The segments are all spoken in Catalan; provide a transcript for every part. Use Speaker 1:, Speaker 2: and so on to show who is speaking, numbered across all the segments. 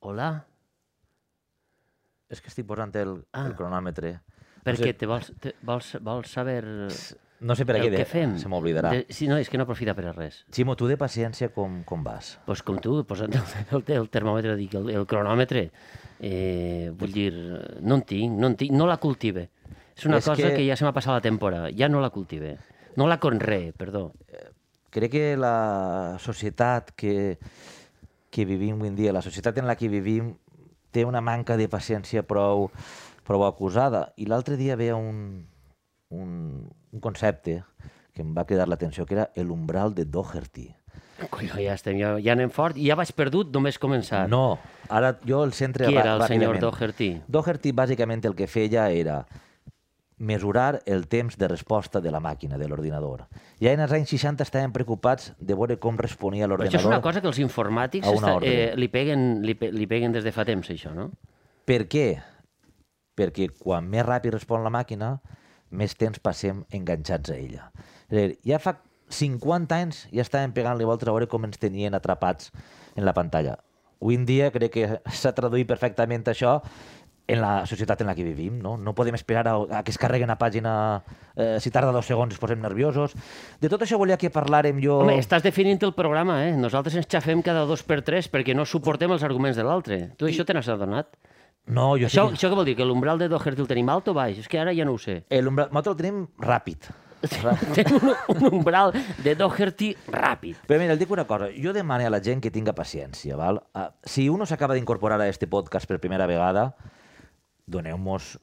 Speaker 1: Hola?
Speaker 2: És que estic posant el,
Speaker 1: Ah.
Speaker 2: el cronòmetre.
Speaker 1: Perquè
Speaker 2: sé-
Speaker 1: te vols, te vols, vols saber
Speaker 2: No sé per
Speaker 1: el
Speaker 2: què de,
Speaker 1: que fem.
Speaker 2: se m'oblidarà.
Speaker 1: De- Sí, no, és que no aprofita per a res.
Speaker 2: Ximo, tu de paciència com, com vas?
Speaker 1: pues com tu, posant el, el, el termòmetre, dic, el, el cronòmetre, eh, vull dir, no en tinc, no en tinc, no la cultive. És una
Speaker 2: És
Speaker 1: és cosa
Speaker 2: que-
Speaker 1: que... que ja se m'ha passat la temporada, ja no la cultive. No la conree, perdó.
Speaker 2: crec que la societat que, que vivim avui en dia, la societat en la que vivim, té una manca de paciència prou, prou acusada. I l'altre dia veia un, un, un concepte que em va cridar l'atenció, que era l'umbral de Doherty.
Speaker 1: Colló, ja estem, ja, ja anem fort, i ja vaig perdut només començar.
Speaker 2: No, ara jo el centre...
Speaker 1: Qui
Speaker 2: ra-
Speaker 1: era el senyor
Speaker 2: ràpidament.
Speaker 1: Doherty?
Speaker 2: Doherty bàsicament el que feia era mesurar el temps de resposta de la màquina, de l'ordinador. Ja en els anys 60 estaven preocupats de veure com responia
Speaker 1: Però això és una
Speaker 2: l'ordinador
Speaker 1: cosa que els informàtics
Speaker 2: a una
Speaker 1: esta,
Speaker 2: ordre.
Speaker 1: eh, li, peguen, li, pe, li peguen des de fa temps, això, no?
Speaker 2: Per què? Perquè quan més ràpid respon la màquina, més temps passem enganxats a ella. És a dir, ja fa 50 anys ja estàvem pegant-li voltes a veure com ens tenien atrapats en la pantalla. Avui en dia crec que s'ha traduït perfectament això en la societat en la que vivim. No, no podem esperar a, a que es carregui una pàgina... Eh, si tarda dos segons ens posem nerviosos. De tot això volia que parlàrem jo...
Speaker 1: Home, estàs definint el programa, eh? Nosaltres ens xafem cada dos per tres perquè no suportem els arguments de l'altre. Tu això te n'has adonat?
Speaker 2: No, jo
Speaker 1: Això,
Speaker 2: sé que...
Speaker 1: això què vol dir? Que l'umbral de Doherty el tenim alt o baix? És que ara ja no ho sé.
Speaker 2: L'umbral... Nosaltres el tenim ràpid. Ra-
Speaker 1: Tenim un, un umbral de Doherty ràpid.
Speaker 2: Però mira, et dic una cosa, jo demano a la gent que tinga paciència, val? Uh, si uno s'acaba d'incorporar a este podcast per primera vegada, doneu-nos...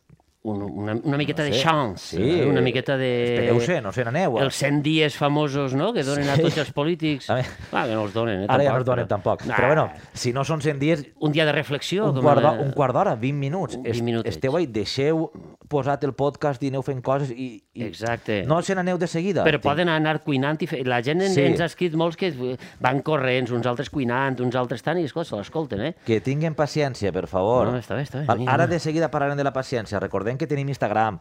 Speaker 1: Un, una, una miqueta
Speaker 2: No
Speaker 1: de
Speaker 2: sé.
Speaker 1: chance,
Speaker 2: Sí.
Speaker 1: eh? una miqueta de...
Speaker 2: Espereu-se, no se n'aneu. eh?
Speaker 1: Els 100 dies famosos, no?, que donen a tots els polítics.
Speaker 2: A veure.
Speaker 1: Va, que no els donen, eh?
Speaker 2: Ara ja no
Speaker 1: tampoc,
Speaker 2: es donen tampoc.
Speaker 1: Nah.
Speaker 2: Però bueno, si no són 100 dies,
Speaker 1: Un dia de reflexió.
Speaker 2: un
Speaker 1: com
Speaker 2: quart, d'ho-
Speaker 1: la-
Speaker 2: un quart d'hora, 20 minuts.
Speaker 1: Un 20
Speaker 2: Est-
Speaker 1: minutets.
Speaker 2: Esteu ahí, deixeu posat el podcast i aneu fent coses i... i
Speaker 1: Exacte.
Speaker 2: No se n'aneu de seguida.
Speaker 1: Però poden anar cuinant i fer... La gent en,
Speaker 2: Sí.
Speaker 1: ens ha escrit molts que van corrents, uns altres cuinant, uns altres tant, i escolta, se l'escolten, eh?
Speaker 2: Que tinguin paciència, per favor.
Speaker 1: No, està bé, està bé.
Speaker 2: Val,
Speaker 1: Vinga,
Speaker 2: Ara
Speaker 1: vinga.
Speaker 2: de seguida parlarem de la paciència. Recordem que tenim Instagram,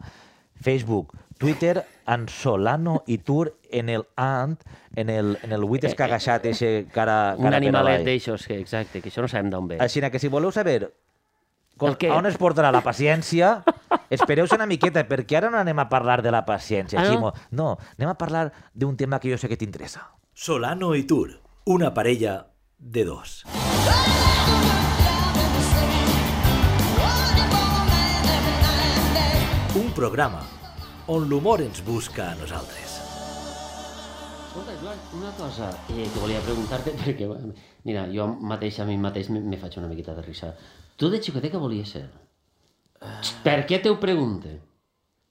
Speaker 2: Facebook, Twitter, en Solano i Tur en el Ant, en el, en el buit escagaixat, eixe cara,
Speaker 1: Eh, Un
Speaker 2: cara per
Speaker 1: animalet
Speaker 2: avall.
Speaker 1: d'eixos, que exacte, que això no sabem d'on ve.
Speaker 2: Així que si voleu saber com,
Speaker 1: El què?
Speaker 2: on es portarà la paciència, espereu-se una miqueta, perquè ara no anem a parlar de la paciència,
Speaker 1: Ah, no?
Speaker 2: Ximo. No, anem a parlar d'un tema que jo sé que t'interessa.
Speaker 3: Solano i Tur, una parella de dos. Un programa on l'humor ens busca a nosaltres.
Speaker 1: Escolta, Joan, una cosa eh, que volia preguntar-te, perquè, bueno, mira, jo mateix, a mi mateix, me, me faig una miqueta de risa. Tu de xicoteca volies ser?
Speaker 2: Eh.
Speaker 1: Per què t'ho pregunte?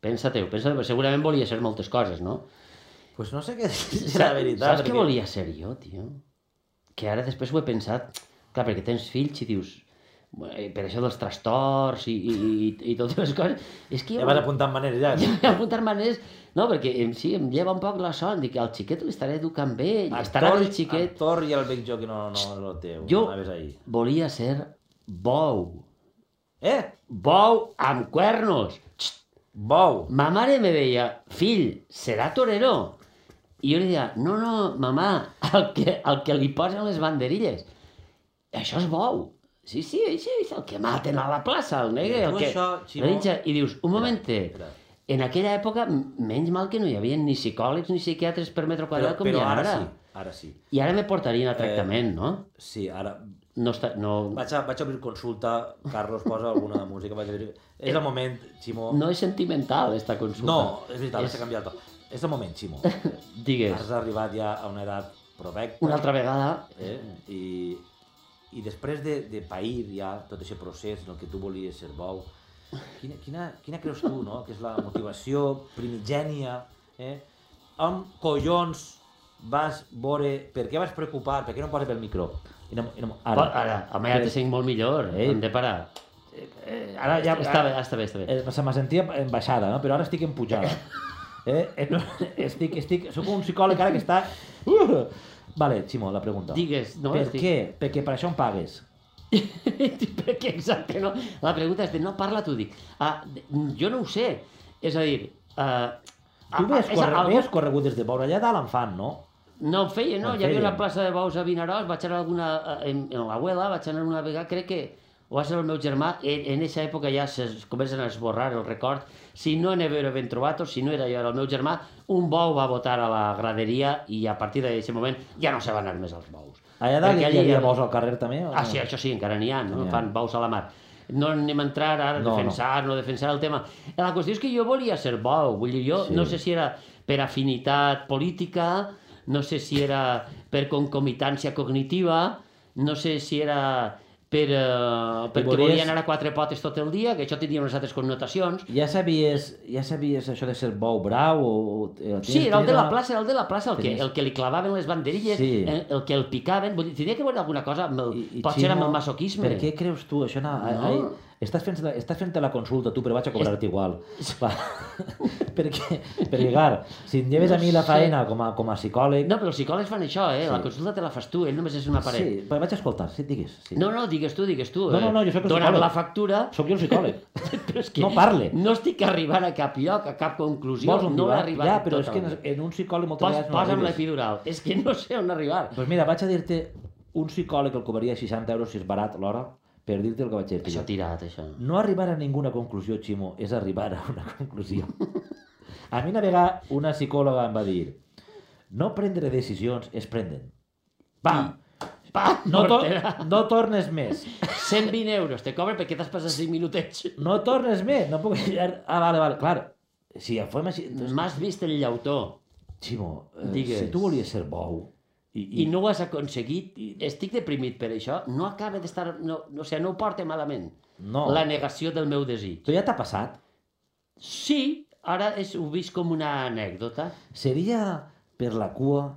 Speaker 1: Pensa-te-ho, pensa -ho. segurament volia ser moltes coses, no?
Speaker 2: Pues no sé què és
Speaker 1: Sa- Saps què volia ser jo, tio? Que ara després ho he pensat, clar, perquè tens fills i dius, bueno, eh, per això dels trastorns i, i, i, i totes les coses, és que jo...
Speaker 2: apuntant maneres, ja.
Speaker 1: Jo vaig apuntar-me més... No, perquè em, sí, em lleva un poc la son. Dic, el xiquet l'estaré educant bé, estarà bé el xiquet.
Speaker 2: Thor i el Big Joe, que no, no és el teu.
Speaker 1: Jo
Speaker 2: anaves ahí.
Speaker 1: volia ser bou.
Speaker 2: Eh?
Speaker 1: Bou amb cuernos. Xt.
Speaker 2: Bou.
Speaker 1: Ma mare me deia, fill, serà torero. I jo li deia, no, no, mamà, el que, el que li posen les banderilles. Això és bou. Sí, sí, això és el que maten a la plaça, el negre,
Speaker 2: I
Speaker 1: el
Speaker 2: tu
Speaker 1: que...
Speaker 2: això, Ximo-
Speaker 1: Menja, I dius, un moment,
Speaker 2: espera.
Speaker 1: en aquella època, m- menys mal que no hi havia ni psicòlegs ni psiquiatres per metre quadrat com hi ha ara.
Speaker 2: sí, Eh. ara sí.
Speaker 1: I ara me portarien a tractament, no?
Speaker 2: Sí, ara...
Speaker 1: No està... No,
Speaker 2: Vaig a, vaig a obrir consulta, Carlos posa alguna música, vaig a obrir... És el moment, Ximo...
Speaker 1: no és sentimental, esta consulta.
Speaker 2: no és veritat, has
Speaker 1: És-
Speaker 2: de canviar el to. És el moment, Ximo. Has
Speaker 1: Digues,
Speaker 2: arribat ja a una edat provecta.
Speaker 1: una altra vegada...
Speaker 2: Eh? I, I després de, de pair ja tot aquest procés en el que tu volies ser bou, quina, quina, quina creus tu, no?, que és la motivació primigènia, eh? Amb collons vas veure... Per què vas preocupar? Per què no em posa pel micro? I no, i no,
Speaker 1: Ara, ara home, ja te sent molt millor, eh?
Speaker 2: Eh?
Speaker 1: hem de parar. Eh, eh, ara ja... Està bé, està bé, està bé.
Speaker 2: Eh, se me sentia en baixada, no? però ara estic en pujada. Eh? eh, no, estic, estic, soc un psicòleg ara que està... Uh! Vale, Ximo, la pregunta.
Speaker 1: Digues, no?
Speaker 2: per
Speaker 1: estic-
Speaker 2: què? Perquè per això em pagues.
Speaker 1: Perquè exacte, no? La pregunta és de no parla tu, dic. Ah, de- jo no ho sé. És a dir... Uh,
Speaker 2: Tu ah, ves, corre, ves corregudes de pobre allà dalt en fan, no?
Speaker 1: No, em feia, no,
Speaker 2: Em
Speaker 1: hi havia
Speaker 2: feien.
Speaker 1: una plaça de bous a Vinaròs, vaig anar alguna, a- en, en l'abuela, vaig anar una vegada, crec que o va ser el meu germà, en, en aquesta època ja es comencen a esborrar el record, si no n'havia ben trobat o si no era jo era el meu germà, un bou va votar a la graderia i a partir d'aquest moment ja no se van anar més als bous.
Speaker 2: Allà dalt
Speaker 1: Perquè
Speaker 2: hi
Speaker 1: allí
Speaker 2: havia
Speaker 1: era-
Speaker 2: bous al carrer també? o
Speaker 1: Ah,
Speaker 2: no?
Speaker 1: sí, això sí, encara n'hi ha, no?
Speaker 2: N'hi ha.
Speaker 1: Fan baus a la mar. No anem a entrar ara a
Speaker 2: No,
Speaker 1: defensar, no. defensar el tema. La qüestió és que jo volia ser bou, vull dir, jo
Speaker 2: Sí.
Speaker 1: no sé si era per afinitat política, no sé si era per concomitància cognitiva, no sé si era per, uh, perquè
Speaker 2: volies-
Speaker 1: volia anar a quatre potes tot el dia, que això tenia unes altres connotacions.
Speaker 2: Ja sabies, ja sabies això de ser bou brau? O, o,
Speaker 1: Sí, era el de la plaça, era el de la plaça, el que,
Speaker 2: Tenies-
Speaker 1: el que li clavaven les banderilles,
Speaker 2: Sí.
Speaker 1: eh, el que el picaven, vull dir, tenia que veure alguna cosa, amb el, potser
Speaker 2: Ximo,
Speaker 1: amb el masoquisme.
Speaker 2: Per què creus tu? Això no,
Speaker 1: No.
Speaker 2: no. Ai, estàs fent, estàs fent la consulta tu, però vaig a cobrar-te igual. Va. perquè, perquè, clar, si em lleves
Speaker 1: No
Speaker 2: a mi la
Speaker 1: sé.
Speaker 2: faena com a, com a psicòleg...
Speaker 1: No, però els psicòlegs fan això, eh? La
Speaker 2: Sí.
Speaker 1: consulta te la fas tu, ell només és una paret.
Speaker 2: sí, però vaig a escoltar, si et digues. Sí.
Speaker 1: No, no, digues tu, digues tu.
Speaker 2: No, no,
Speaker 1: eh?
Speaker 2: no, jo sóc el
Speaker 1: Dona'm
Speaker 2: psicòleg.
Speaker 1: la factura,
Speaker 2: Sóc jo el psicòleg.
Speaker 1: però és que...
Speaker 2: No parle.
Speaker 1: No estic arribant a cap lloc, a cap conclusió.
Speaker 2: Vols un
Speaker 1: no he
Speaker 2: divan?
Speaker 1: arribat
Speaker 2: Ja,
Speaker 1: del
Speaker 2: però
Speaker 1: tot
Speaker 2: és que
Speaker 1: a
Speaker 2: en,
Speaker 1: on.
Speaker 2: en un psicòleg moltes
Speaker 1: Pos,
Speaker 2: vegades no
Speaker 1: posa'm
Speaker 2: arribes.
Speaker 1: l'epidural. És que no sé on arribar.
Speaker 2: Doncs mira, vaig a dir-te un psicòleg el cobraria 60 euros si és barat l'hora per dir-te el que vaig dir-te.
Speaker 1: Això
Speaker 2: jo.
Speaker 1: tirat, això.
Speaker 2: No arribar a ninguna conclusió, Ximo, és arribar a una conclusió. A mi una vegada una psicòloga em va dir no prendre decisions es prenden. Pam!
Speaker 1: Pa,
Speaker 2: No, to
Speaker 1: Mortera.
Speaker 2: no tornes més.
Speaker 1: 120 euros, te cobren perquè t'has passat 5 minutets.
Speaker 2: No tornes més. No puc girar. Ah, vale, vale. Clar, si ja fem així... Doncs,
Speaker 1: M'has vist el llautó
Speaker 2: Ximo, eh,
Speaker 1: Digues.
Speaker 2: si tu volies ser bou i,
Speaker 1: i no ho has aconseguit, estic deprimit per això, no acaba d'estar... No, no, o sigui, no ho porta malament.
Speaker 2: no.
Speaker 1: La negació del meu desig.
Speaker 2: Tu ja t'ha passat.
Speaker 1: Sí, ara és, ho vist com una anècdota.
Speaker 2: Seria per la cua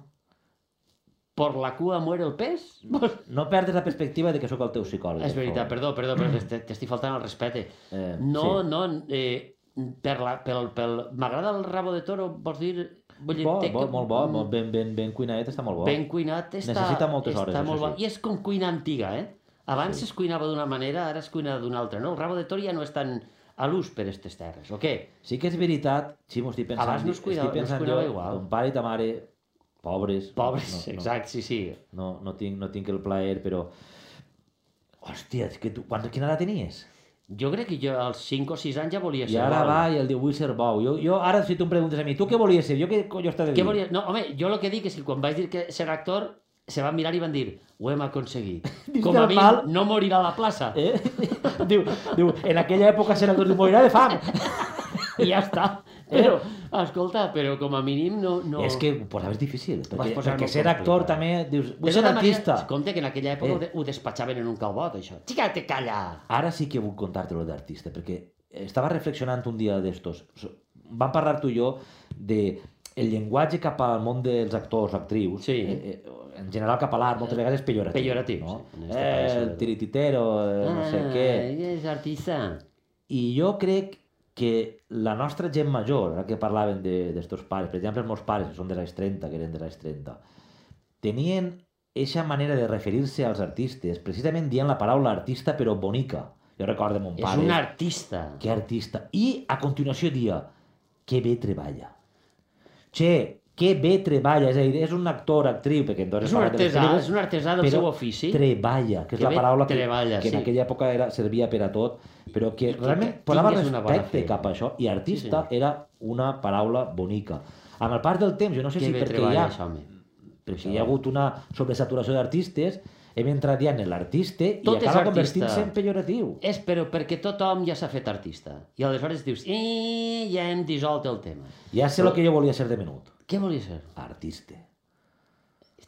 Speaker 1: Por la cua muere el pes?
Speaker 2: no perdre la perspectiva de que sóc el teu psicòleg.
Speaker 1: És
Speaker 2: per
Speaker 1: veritat,
Speaker 2: favor.
Speaker 1: perdó, perdó, però t'est- t'estic faltant al respecte.
Speaker 2: Eh,
Speaker 1: No, no, eh, per la, pel, pel... M'agrada el rabo de toro, vols dir... Vull
Speaker 2: Bo,
Speaker 1: té
Speaker 2: bo,
Speaker 1: que- Mm.
Speaker 2: molt bo, molt ben, ben, ben cuinadet, està molt bo.
Speaker 1: Ben cuinat està...
Speaker 2: Necessita moltes hores,
Speaker 1: Està
Speaker 2: això
Speaker 1: molt bo.
Speaker 2: sí.
Speaker 1: I és com cuina antiga, eh? Abans sí. es cuinava d'una manera, ara es cuina d'una altra, no? El rabo de toro ja no és tan a l'ús per aquestes terres, o què?
Speaker 2: Sí que és veritat, Ximo, estic pensant...
Speaker 1: Abans no es cuidava-
Speaker 2: estic pensant
Speaker 1: no es cuidava
Speaker 2: jo,
Speaker 1: igual.
Speaker 2: Ton pare i ta mare, pobres.
Speaker 1: Pobres,
Speaker 2: no, no,
Speaker 1: exacte, sí, sí.
Speaker 2: No, no, tinc, no tinc el plaer, però... Hòstia, és que tu... Quan, quina edat tenies?
Speaker 1: Jo crec que jo als 5 o 6 anys ja volia
Speaker 2: I
Speaker 1: ser
Speaker 2: ara
Speaker 1: bou.
Speaker 2: va i el diu, vull ser bou. Jo, jo ara, si tu em preguntes a mi, tu què volies ser? Jo què collo estàs de
Speaker 1: Què
Speaker 2: dir?
Speaker 1: volia... No, home, jo el que dic és que quan vaig dir que ser actor, se van mirar i van dir, ho hem aconseguit.
Speaker 2: Dins
Speaker 1: Com a
Speaker 2: del
Speaker 1: mi,
Speaker 2: pal.
Speaker 1: no morirà a la plaça. Eh?
Speaker 2: Eh? diu, diu, en aquella època serà que morirà de fam.
Speaker 1: I ja està. Però, escolta, però com a mínim no...
Speaker 2: No.
Speaker 1: no...
Speaker 2: És que ho posaves difícil, perquè,
Speaker 1: posar
Speaker 2: perquè
Speaker 1: molt
Speaker 2: ser actor
Speaker 1: complicat.
Speaker 2: també, dius,
Speaker 1: De
Speaker 2: vull ser
Speaker 1: tota
Speaker 2: artista.
Speaker 1: Manera, compte que en aquella època
Speaker 2: Eh.
Speaker 1: eh. ho, de, ho despatxaven en un calbot, això. Xica, te calla!
Speaker 2: Ara sí que vull contar-te-lo d'artista, perquè estava reflexionant un dia d'estos. So- Vam parlar tu i jo de el llenguatge cap al món dels actors, actrius,
Speaker 1: Sí. Eh,
Speaker 2: eh, eh, en general cap a l'art, moltes vegades és pejoratiu.
Speaker 1: Pejoratiu,
Speaker 2: no?
Speaker 1: sí, en este país,
Speaker 2: Eh, el
Speaker 1: sobretot.
Speaker 2: tirititero, eh, no sé què...
Speaker 1: Ah, és artista.
Speaker 2: I jo crec que la nostra gent major, ara que parlaven de- d'estos pares, per exemple, els meus pares, que són de l'any 30, que eren de l'any 30, tenien eixa manera de referir-se als artistes, precisament dient la paraula artista, però bonica. Jo recordo mon
Speaker 1: És
Speaker 2: pare,
Speaker 1: un artista.
Speaker 2: que artista. I a continuació dia, que bé treballa. Che, que bé treballa, és a dir, és un actor, actriu, perquè entonces
Speaker 1: És un
Speaker 2: parlem de les
Speaker 1: artesà,
Speaker 2: pel·lícules,
Speaker 1: és un artesà del
Speaker 2: però
Speaker 1: seu ofici.
Speaker 2: Treballa, que,
Speaker 1: Que
Speaker 2: és la
Speaker 1: bé
Speaker 2: paraula que,
Speaker 1: treballa,
Speaker 2: que en
Speaker 1: sí.
Speaker 2: aquella època era, servia per a tot, però que,
Speaker 1: I que-
Speaker 2: realment
Speaker 1: que
Speaker 2: posava
Speaker 1: tingues una bona
Speaker 2: respecte
Speaker 1: feina.
Speaker 2: cap a això, i artista
Speaker 1: senyor.
Speaker 2: sí, era una paraula bonica. Amb el pas del temps, jo no sé
Speaker 1: que
Speaker 2: si
Speaker 1: bé
Speaker 2: perquè hi
Speaker 1: treballa,
Speaker 2: ha,
Speaker 1: això, home.
Speaker 2: perquè hi ha hagut una sobresaturació d'artistes, hem entrat ja en l'artista i
Speaker 1: Tot és
Speaker 2: acaba
Speaker 1: artista.
Speaker 2: convertint-se en pejoratiu.
Speaker 1: És però perquè tothom ja s'ha fet artista. I aleshores dius, eh, ja hem dissolt el tema.
Speaker 2: Ja sé el que jo volia ser de menut.
Speaker 1: Què volies ser?
Speaker 2: Artista.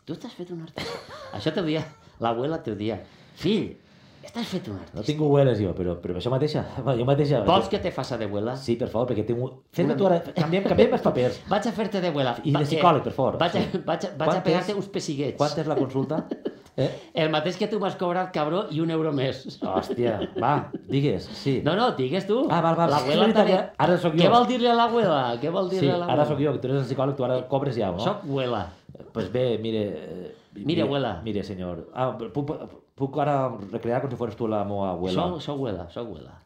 Speaker 1: Tu t'has fet un artista. Això t'ho dia, l'abuela t'ho dia. Fill, t'has fet un
Speaker 2: No
Speaker 1: artista.
Speaker 2: tinc hueles jo, però, però això mateixa, jo mateixa...
Speaker 1: Vols que te faça d'abuela?
Speaker 2: Sí, per favor, perquè tinc... un- Fes-me tu ara, canviem, canviem els papers.
Speaker 1: Vaig a fer-te d'abuela.
Speaker 2: I de
Speaker 1: Va- eh,
Speaker 2: psicòleg, per favor.
Speaker 1: Vaig a,
Speaker 2: Sí.
Speaker 1: vaig a, vaig a
Speaker 2: Quantes-
Speaker 1: pegar-te uns pessiguets.
Speaker 2: Quant és la consulta? Eh?
Speaker 1: El mateix que tu m'has cobrat, cabró, i un euro més.
Speaker 2: Hòstia, va, digues, sí.
Speaker 1: No, no, digues tu.
Speaker 2: Ah, val, val.
Speaker 1: L'abuela
Speaker 2: Sí,
Speaker 1: també...
Speaker 2: ara- ara sóc jo.
Speaker 1: Què vol dir-li a l'abuela? Què vol
Speaker 2: sí,
Speaker 1: dir-li a l'abuela?
Speaker 2: ara sóc jo, que tu eres el psicòleg, tu ara cobres ja, no?
Speaker 1: Soc abuela.
Speaker 2: Doncs pues bé, mire... eh,
Speaker 1: Mire, abuela.
Speaker 2: Mire, senyor. Ah, puc, puc ara recrear com si fores tu la meva abuela?
Speaker 1: Soc, soc abuela, soc abuela.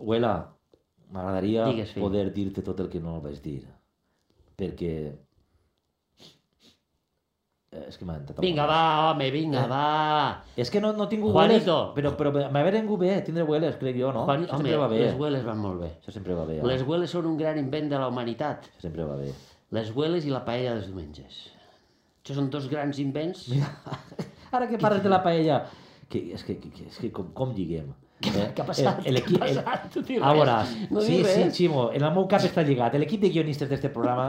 Speaker 2: Abuela, m'agradaria
Speaker 1: Digues, fill.
Speaker 2: poder dir-te tot el que no vaig dir. Perquè... Eh, És que m'ha entrat.
Speaker 1: Vinga, va, home, vinga, va.
Speaker 2: És que no, no tinc Google.
Speaker 1: Juanito.
Speaker 2: Però, però m'ha vengut bé, tindre Google, crec jo, no?
Speaker 1: Juan,
Speaker 2: Oh, Això
Speaker 1: home,
Speaker 2: sempre va bé.
Speaker 1: les hueles van molt bé.
Speaker 2: Això sempre va bé.
Speaker 1: Les
Speaker 2: Les...
Speaker 1: hueles són un gran invent de la humanitat.
Speaker 2: Això sempre va bé.
Speaker 1: Les hueles i la paella dels diumenges. Això són dos grans invents.
Speaker 2: Ara que parles de la paella, que, és que, que, és que com, com lliguem? Eh?
Speaker 1: què ha passat?
Speaker 2: El, el,
Speaker 1: Què ha
Speaker 2: el,
Speaker 1: passat? Tu dius
Speaker 2: a veure,
Speaker 1: res. No
Speaker 2: sí,
Speaker 1: dius
Speaker 2: sí,
Speaker 1: res.
Speaker 2: Ximo, en el meu cap està lligat. L'equip de guionistes d'aquest programa,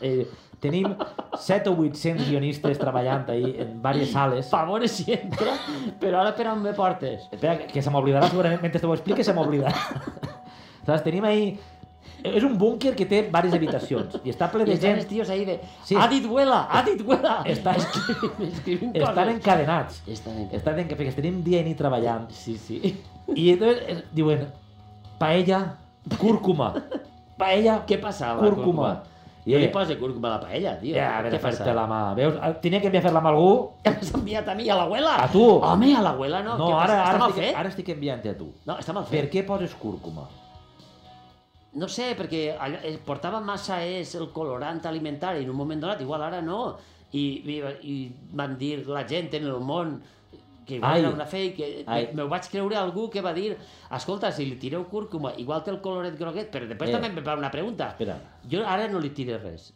Speaker 2: eh, tenim 7 o 800 guionistes treballant ahí en diverses sales.
Speaker 1: Favore sempre, però ara per on me portes?
Speaker 2: Espera, que se m'oblidarà segurament, mentre te ho explique se m'oblidarà. Saps, tenim ahí... És un búnquer que té diverses habitacions i està ple
Speaker 1: I
Speaker 2: de
Speaker 1: estan
Speaker 2: gent...
Speaker 1: els tios ahí de...
Speaker 2: Sí.
Speaker 1: Ha dit huela, ha dit huela!
Speaker 2: Estan-
Speaker 1: Escrivint, escrivint
Speaker 2: Estan
Speaker 1: coses.
Speaker 2: encadenats.
Speaker 1: Estan en...
Speaker 2: Estan en... Perquè tenim dia i nit treballant.
Speaker 1: Sí, sí.
Speaker 2: I entonces eh, diuen paella, cúrcuma. Paella,
Speaker 1: Què passava?
Speaker 2: cúrcuma.
Speaker 1: Jo li
Speaker 2: eh,
Speaker 1: posa cúrcuma a la paella, tio.
Speaker 2: Ja, a veure,
Speaker 1: Què passa?
Speaker 2: fer-te la mà. Veus? Ah, Tenia que enviar a fer-la mà a algú.
Speaker 1: Ja m'has enviat a mi, a l'abuela?
Speaker 2: A tu.
Speaker 1: Home, a l'abuela no.
Speaker 2: No,
Speaker 1: Què
Speaker 2: ara,
Speaker 1: passa?
Speaker 2: ara,
Speaker 1: està mal
Speaker 2: estic,
Speaker 1: fet?
Speaker 2: ara estic enviant-te a tu.
Speaker 1: No, està mal
Speaker 2: Per
Speaker 1: fet.
Speaker 2: què poses cúrcuma?
Speaker 1: No sé, perquè allò, eh, portava massa és el colorant alimentari en un moment donat, igual ara no. I, i, i van dir la gent en el món que igual
Speaker 2: Ai.
Speaker 1: era una fake, que
Speaker 2: Ai.
Speaker 1: me- me'l vaig creure a algú que va dir escolta, si li tireu cúrcuma, igual té el coloret groguet, però després
Speaker 2: Eh.
Speaker 1: també em va una pregunta.
Speaker 2: Espera.
Speaker 1: Jo ara no li tiré res.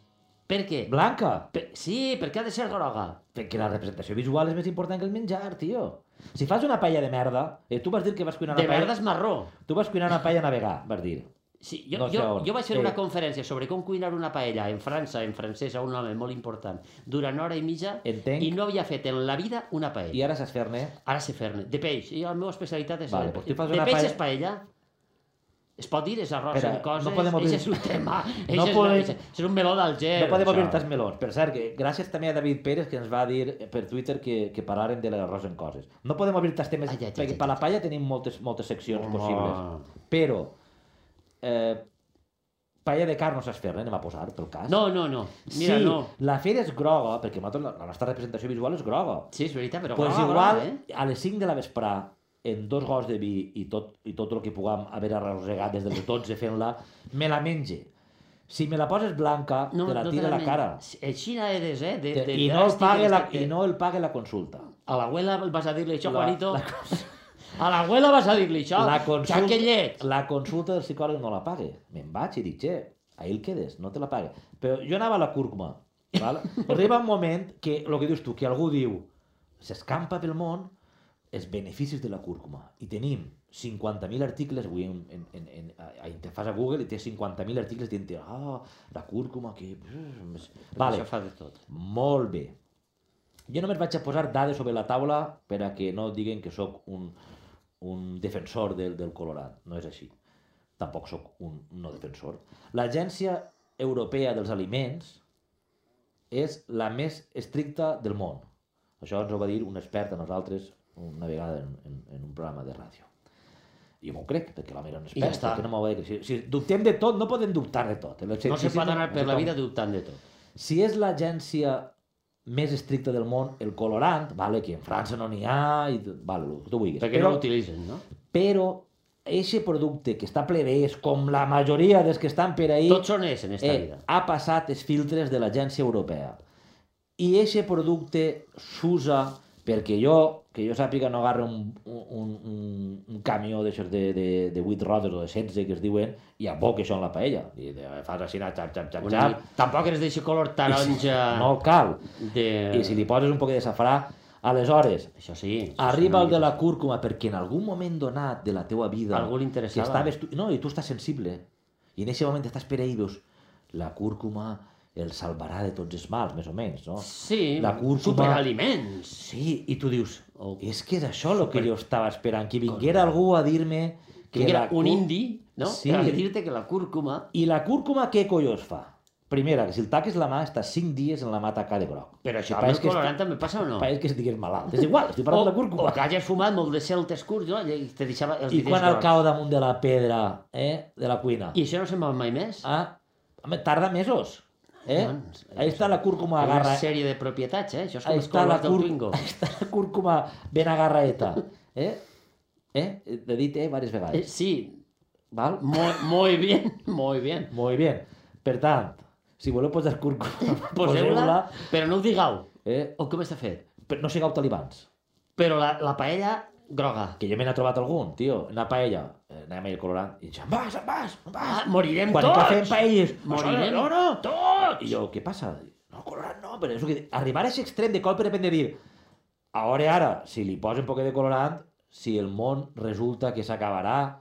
Speaker 1: Per què?
Speaker 2: Blanca.
Speaker 1: Per, sí, per què ha de ser groga?
Speaker 2: Perquè la representació visual és més important que el menjar, tio. Si fas una paella de merda, eh, tu vas dir que vas cuinar una
Speaker 1: De
Speaker 2: paella...
Speaker 1: verda és marró.
Speaker 2: Tu vas cuinar una paella navegà, vas dir.
Speaker 1: Sí, jo,
Speaker 2: No sé
Speaker 1: jo,
Speaker 2: on.
Speaker 1: jo vaig fer
Speaker 2: Sí.
Speaker 1: una conferència sobre com cuinar una paella en França, en francès, a un home molt important, durant hora i mitja,
Speaker 2: Entenc.
Speaker 1: i no havia fet en la vida una
Speaker 2: I
Speaker 1: paella.
Speaker 2: ara saps fer-ne...
Speaker 1: Ara sé fer-ne, de peix, i la meva especialitat és...
Speaker 2: Vale,
Speaker 1: el-
Speaker 2: doncs tu fas
Speaker 1: de
Speaker 2: una
Speaker 1: peix
Speaker 2: paella-
Speaker 1: és paella? Es pot dir, és arròs
Speaker 2: Espera,
Speaker 1: amb coses,
Speaker 2: no podem
Speaker 1: això
Speaker 2: obrir-
Speaker 1: és un tema,
Speaker 2: No
Speaker 1: no és,
Speaker 2: podem-
Speaker 1: podem... és un meló d'Alger.
Speaker 2: No podem
Speaker 1: això.
Speaker 2: obrir tants melons. Per cert, que gràcies també a David Pérez, que ens va dir eh, per Twitter que, que parlàrem de l'arròs en coses. No podem obrir tants temes,
Speaker 1: Ai, ai, ai,
Speaker 2: perquè
Speaker 1: ai,
Speaker 2: per la palla tenim moltes, moltes seccions
Speaker 1: Home.
Speaker 2: possibles. Però, eh, paella de carn no saps fer-ne, anem a posar, pel cas.
Speaker 1: No, no, no, mira,
Speaker 2: sí,
Speaker 1: no.
Speaker 2: la fer és groga, perquè nosaltres, la- la nostra representació visual és groga.
Speaker 1: Sí, és veritat, però...
Speaker 2: Però pues
Speaker 1: groga,
Speaker 2: igual,
Speaker 1: groga, eh?
Speaker 2: a les 5 de la vesprà, en dos gots de vi i tot, i tot el que puguem haver arrossegat des de les 12 fent-la, me la menge. Si me la poses blanca, te la tira a la
Speaker 1: men-
Speaker 2: cara.
Speaker 1: Eh, Xina eres, eh? De, de,
Speaker 2: I no, el
Speaker 1: dràstic
Speaker 2: pague
Speaker 1: eres,
Speaker 2: la,
Speaker 1: que-
Speaker 2: I no el pague la consulta.
Speaker 1: A l'abuela vas a dir-li això,
Speaker 2: La-
Speaker 1: Juanito.
Speaker 2: la
Speaker 1: A l'abuela vas a dir-li això.
Speaker 2: La consulta,
Speaker 1: Xaquellet.
Speaker 2: la consulta del psicòleg no la pague. Me'n vaig i dic, che, ahir el quedes, no te la pague. Però jo anava a la cúrcuma. Val? Arriba un moment que, el que dius tu, que algú diu, s'escampa pel món els beneficis de la cúrcuma. I tenim 50.000 articles, avui en, en, en, en, a, a, te fas a Google i té 50.000 articles dient ah, la cúrcuma, que... Vale,
Speaker 1: Això fa de tot.
Speaker 2: molt bé. Jo només vaig a posar dades sobre la taula per a que no diguen que sóc un, un defensor del, del Colorat. No és així. Tampoc sóc un no defensor. L'Agència Europea dels Aliments és la més estricta del món. Això ens ho va dir un expert a nosaltres una vegada en, en, en un programa de ràdio. Jo m'ho crec, perquè l'home era un
Speaker 1: I ja
Speaker 2: expert.
Speaker 1: està.
Speaker 2: perquè No m'ho va dir. Si, si dubtem de tot, no podem dubtar de tot. Eh,
Speaker 1: No se pot anar per la
Speaker 2: tothom-
Speaker 1: vida dubtant de tot.
Speaker 2: si és l'agència més estricta del món, el colorant, vale, que en França no n'hi ha, i, tot- vale, el que tu vulguis.
Speaker 1: Perquè no l'utilitzen, no?
Speaker 2: però eixe producte que està ple d'és, com la majoria dels que estan per ahí,
Speaker 1: Tots són és en esta
Speaker 2: eh,
Speaker 1: vida.
Speaker 2: ha passat els filtres de l'agència europea. I eixe producte s'usa perquè jo, que jo sàpiga, no agarre un, un, un, un camió d'aixòs de, de, de 8 rodes o de 16 que es diuen i aboca això en la paella. I eh, fas així, xap, xap, xap, xap,
Speaker 1: Una, tampoc eres d'això color taronja
Speaker 2: no cal.
Speaker 1: de...
Speaker 2: I si li poses un poc de safrà, aleshores,
Speaker 1: Això sí.
Speaker 2: arriba el de la cúrcuma perquè en algun moment donat de la teua vida...
Speaker 1: Algú li interessava.
Speaker 2: Que estaves tu, no, i tu estàs sensible. I en aquest moment estàs per ahí i veus la cúrcuma el salvarà de tots els mals, més o menys, no?
Speaker 1: Sí,
Speaker 2: la cúrcuma-
Speaker 1: superaliments.
Speaker 2: Sí, i tu dius,
Speaker 1: O-
Speaker 2: és que és això el que jo estava esperant, que vinguera algú a dir-me
Speaker 1: Que
Speaker 2: la
Speaker 1: era un
Speaker 2: cúr-
Speaker 1: indi, no? Sí.
Speaker 2: Sí.
Speaker 1: Era dir-te que la cúrcuma...
Speaker 2: I la cúrcuma què collons fa? Primera, que si el taques la mà, està 5 dies en la mà tacada de groc.
Speaker 1: Però això amb
Speaker 2: Pareix
Speaker 1: el
Speaker 2: que
Speaker 1: colorant també passa o no?
Speaker 2: Pareix que estigués malalt. És igual,
Speaker 1: O,
Speaker 2: estic parlant de la
Speaker 1: o
Speaker 2: cúrcuma.
Speaker 1: que hagis fumat molt de celtes curts, no? I te deixava els
Speaker 2: I
Speaker 1: dits
Speaker 2: quan el
Speaker 1: grocs.
Speaker 2: cau damunt de la pedra eh, de la cuina?
Speaker 1: I això no se'n va mai més?
Speaker 2: Ah, home, tarda mesos. Eh?
Speaker 1: Doncs,
Speaker 2: Ahí està la
Speaker 1: Una
Speaker 2: cúrcuma agarra...
Speaker 1: sèrie de propietats, eh? Això és
Speaker 2: Ahí
Speaker 1: com els
Speaker 2: està, la
Speaker 1: colors del
Speaker 2: cúr...
Speaker 1: bingo.
Speaker 2: Ahí està la cúrcuma ben agarraeta. Eh? Eh? He dit eh diverses
Speaker 1: Eh,
Speaker 2: vegades.
Speaker 1: sí,
Speaker 2: Val?
Speaker 1: muy, muy bien, muy bien.
Speaker 2: Molt bé. Per tant, si voleu posar cúrcuma,
Speaker 1: Poseu-la, però no ho digueu.
Speaker 2: Eh?
Speaker 1: O com està fet?
Speaker 2: Però no sigueu talibans.
Speaker 1: Però la, la paella groga.
Speaker 2: Que jo me n'he trobat algun, tio. Una paella. Eh, Anem a ir colorant. I dic, em vas, em vas, em vas.
Speaker 1: Ah, morirem
Speaker 2: Quan
Speaker 1: tots!
Speaker 2: que fem paelles.
Speaker 1: Morirem.
Speaker 2: No, Pues no, tot. I jo, què passa? No, colorant no, però és el que... dic. Arribar a aquest extrem de cop de repente dir, a hora i ara, si li posen un poc de colorant, si el món resulta que s'acabarà,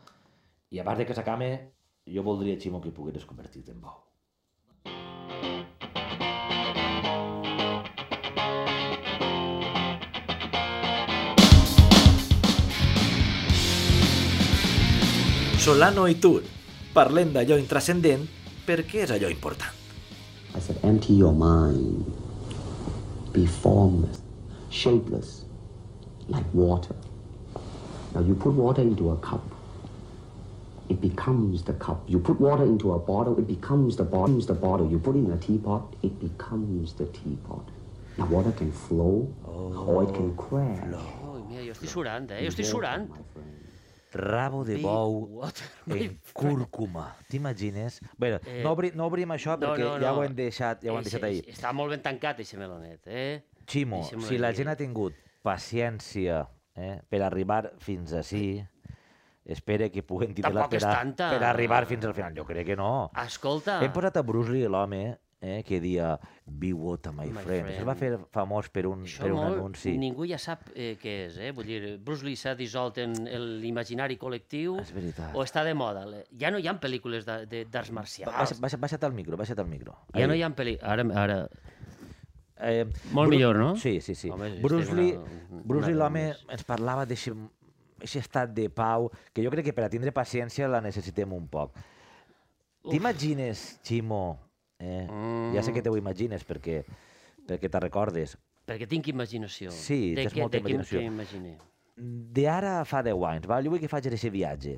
Speaker 2: i a part de que s'acabe, jo voldria, Ximo, que pogueres convertir-te en bou.
Speaker 3: Solano i Tur. Parlem d'allò intrascendent perquè és allò important.
Speaker 4: I said, empty your mind. Be formless, shapeless, like water. Now you put water into a cup, it becomes the cup. You put water into a bottle, it becomes the bottle. The bottle. You put it in a teapot, it becomes the teapot. Now water can flow or it can crash.
Speaker 1: Ui, mira, jo estic surant, eh? Jo estic surant.
Speaker 4: My friend.
Speaker 2: Rabo de bou
Speaker 1: Water, my
Speaker 2: en cúrcuma. T'imagines? Bé,
Speaker 1: Eh,
Speaker 2: no, obri, no obrim això perquè no, no, ja ho hem deixat, ja ho hem
Speaker 1: Eixe-
Speaker 2: deixat ahir.
Speaker 1: eixe- Està molt ben tancat, aquest melonet, eh?
Speaker 2: Ximo,
Speaker 1: Deixem-ho
Speaker 2: si la
Speaker 1: aquí. eh.
Speaker 2: gent ha tingut paciència eh, per arribar fins ací, espera que puguen titular
Speaker 1: Tampoc
Speaker 2: per,
Speaker 1: és
Speaker 2: a,
Speaker 1: tanta. Ah.
Speaker 2: per arribar fins al final. Jo crec que no.
Speaker 1: Escolta,
Speaker 2: Hem posat a Bruce Lee, l'home, eh, que dia Be Water, my,
Speaker 1: My
Speaker 2: friend. Això es va fer
Speaker 1: friend.
Speaker 2: famós per un,
Speaker 1: això
Speaker 2: per un
Speaker 1: molt,
Speaker 2: anunci.
Speaker 1: ningú ja sap eh, què és, eh? Vull dir, Bruce Lee s'ha dissolt en en l'imaginari col·lectiu
Speaker 2: És veritat.
Speaker 1: o està de moda. Le- Ja no hi ha pel·lícules de- de- d'arts marcials.
Speaker 2: Baixa, baixa, baixa't el micro, baixa't el micro.
Speaker 1: Ja no
Speaker 2: Ahí.
Speaker 1: hi ha pel·li... Ara, ara...
Speaker 2: Eh,
Speaker 1: Molt millor, no?
Speaker 2: Sí, sí, sí.
Speaker 1: Home,
Speaker 2: Home,
Speaker 1: sí,
Speaker 2: Bruce
Speaker 1: estem
Speaker 2: Lee,
Speaker 1: una-
Speaker 2: Bruce
Speaker 1: una
Speaker 2: Lee l'home,
Speaker 1: més.
Speaker 2: ens parlava d'aquest estat de pau, que jo crec que per a tindre paciència la necessitem un poc. T'imagines, Ximo, eh? mm. ja sé que te ho imagines perquè, perquè te recordes,
Speaker 1: Perquè tinc imaginació.
Speaker 2: Sí,
Speaker 1: de
Speaker 2: tens
Speaker 1: què-
Speaker 2: molta
Speaker 1: de què-
Speaker 2: imaginació.
Speaker 1: Què imaginer?
Speaker 2: Mm, de ara a fa 10 anys, val? jo vull que facis aquest viatge.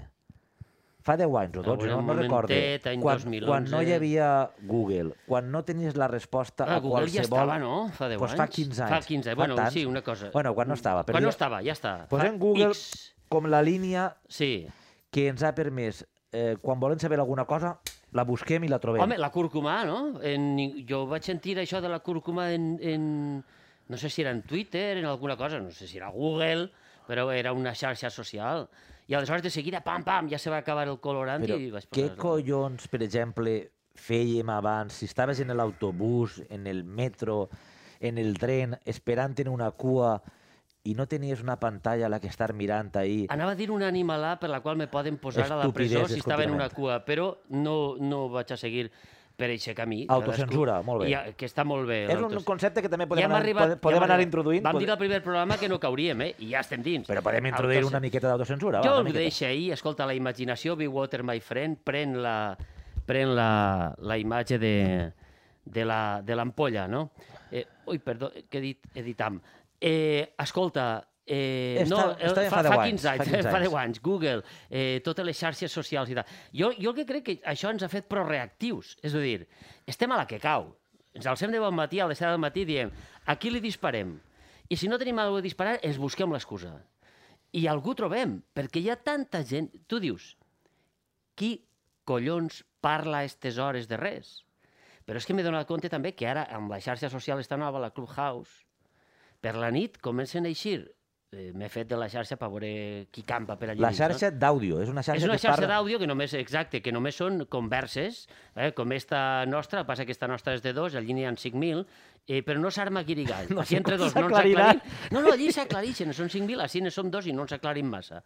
Speaker 2: Fa 10 anys o
Speaker 1: veure,
Speaker 2: 12, no,
Speaker 1: Ah, un
Speaker 2: no recordo.
Speaker 1: momentet, any
Speaker 2: Quan,
Speaker 1: 2011.
Speaker 2: quan no hi havia Google, quan no tenies la resposta
Speaker 1: Ah,
Speaker 2: a
Speaker 1: Google
Speaker 2: qualsevol...
Speaker 1: ja estava, no? Fa 10
Speaker 2: doncs fa
Speaker 1: anys.
Speaker 2: 15
Speaker 1: Fa
Speaker 2: anys.
Speaker 1: 15,
Speaker 2: fa
Speaker 1: bueno,
Speaker 2: tants.
Speaker 1: sí, una cosa.
Speaker 2: Bueno, quan no estava.
Speaker 1: Quan no
Speaker 2: digue-
Speaker 1: estava, ja està. Fa
Speaker 2: Posem Google
Speaker 1: X.
Speaker 2: com la línia
Speaker 1: Sí.
Speaker 2: que ens ha permès, eh, quan volem saber alguna cosa, la busquem i la trobem.
Speaker 1: Home, la cúrcuma, no? En, jo vaig sentir això de la cúrcuma en, en... No sé si era en Twitter, en alguna cosa, no sé si era Google, però era una xarxa social. I aleshores de seguida, pam, pam, ja se va acabar el colorant
Speaker 2: Però
Speaker 1: i vaig posar...
Speaker 2: què collons, per exemple, fèiem abans, si estaves en l'autobús, en el metro, en el tren, esperant en una cua i no tenies una pantalla a la que estar mirant ahir,
Speaker 1: Anava a dir una animalà per la qual me poden posar a la presó
Speaker 2: Estupidesa,
Speaker 1: si estava en una
Speaker 2: escoltament.
Speaker 1: cua, però no, no vaig a seguir per aquest camí.
Speaker 2: Autocensura,
Speaker 1: Cadascú-
Speaker 2: molt bé.
Speaker 1: I, a- que està molt bé.
Speaker 2: És un
Speaker 1: l'autoc-
Speaker 2: concepte que també podem
Speaker 1: Ja hem
Speaker 2: anar- podem- podem
Speaker 1: hem
Speaker 2: anar
Speaker 1: arribat.
Speaker 2: introduint,
Speaker 1: Vam
Speaker 2: podem-
Speaker 1: dir al primer programa que no cauríem, eh? I ja estem dins.
Speaker 2: però podem introduir una miqueta d'autocensura. va,
Speaker 1: Jo
Speaker 2: una
Speaker 1: ho
Speaker 2: miqueta.
Speaker 1: deixo ahir, escolta, la imaginació, Be Water, my friend, pren la, pren la, la imatge de, de la- de l'ampolla, no? Eh, ui, perdó, eh, que he dit, he dit am. Eh, escolta, eh,
Speaker 2: Està-
Speaker 1: no, eh,
Speaker 2: està bé,
Speaker 1: fa,
Speaker 2: fa deu
Speaker 1: fa
Speaker 2: anys,
Speaker 1: 15 anys,
Speaker 2: fa 15
Speaker 1: fa 10
Speaker 2: anys.
Speaker 1: anys, Google, eh, totes les xarxes socials i tal. Jo, jo el que crec que això ens ha fet proreactius, és a dir, estem a la que cau. Ens alcem de bon matí, a les 7 del matí, diem, a qui li disparem? I si no tenim alguna cosa a disparar, ens busquem l'excusa. I algú trobem, perquè hi ha tanta gent... Tu dius, qui collons parla a aquestes hores de res? Però és que m'he donat compte també que ara amb la xarxa social està nova, la Clubhouse, per la nit comencen a eixir. Eh, M'he fet de la xarxa per veure qui campa per allà.
Speaker 2: La
Speaker 1: dins,
Speaker 2: xarxa d'àudio, és una
Speaker 1: No?
Speaker 2: xarxa,
Speaker 1: eh? És una
Speaker 2: que
Speaker 1: xarxa
Speaker 2: parla...
Speaker 1: d'àudio que només, exacte, que només són converses, eh, com esta nostra, passa que esta nostra és de dos, allí n'hi ha 5.000, eh, però no s'arma guirigall.
Speaker 2: No
Speaker 1: Aquí
Speaker 2: sé
Speaker 1: entre
Speaker 2: com
Speaker 1: dos no ens
Speaker 2: s'aclarirà.
Speaker 1: aclarim. No, no, allí s'aclarixen, són 5.000, així ne som dos i no ens aclarim massa.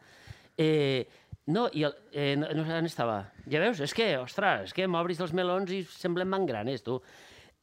Speaker 1: Eh, no, i el, eh, no, no sé on estava. Ja veus? És que, ostres, és que m'obris els melons i semblen mangranes, tu.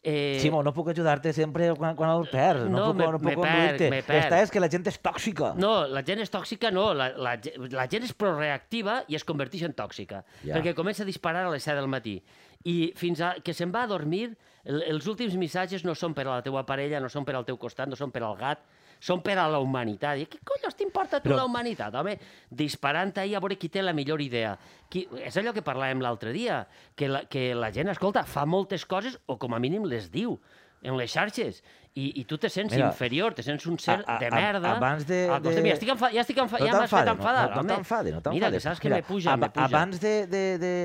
Speaker 1: Eh,
Speaker 2: Ximo, no puc ajudar-te sempre quan, quan el perds. No,
Speaker 1: No,
Speaker 2: puc,
Speaker 1: me-
Speaker 2: no
Speaker 1: me
Speaker 2: puc
Speaker 1: perc,
Speaker 2: conduir-te.
Speaker 1: me perc.
Speaker 2: Esta és que la gent és tòxica.
Speaker 1: No, la gent és tòxica, no. La, la, ge- la gent és proreactiva i es converteix en tòxica.
Speaker 2: Ja.
Speaker 1: Ja. Perquè comença a disparar a les 7 del matí. I fins a que se'n va a dormir, el, els últims missatges no són per a la teua parella, no són per al teu costat, no són per al gat, són per a la humanitat. I què collons t'importa a tu
Speaker 2: Però-
Speaker 1: la humanitat, home? Disparant ahir a veure qui té la millor idea. Qui... És allò que parlàvem l'altre dia, que la, que la gent, escolta, fa moltes coses, o com a mínim les diu, en les xarxes. I, i tu te sents
Speaker 2: Mira,
Speaker 1: inferior, te sents un ser
Speaker 2: a- a-
Speaker 1: de
Speaker 2: a-
Speaker 1: merda.
Speaker 2: abans de-
Speaker 1: al costat.
Speaker 2: de-
Speaker 1: Mira, estic enfa... ja estic enfa... ja m'has fet
Speaker 2: t'enfades,
Speaker 1: enfadar.
Speaker 2: No, no,
Speaker 1: home.
Speaker 2: no t'enfades, no t'enfades.
Speaker 1: Mira, que saps que
Speaker 2: Mira,
Speaker 1: me puja, me
Speaker 2: ab-
Speaker 1: puja.
Speaker 2: Abans de, de, de,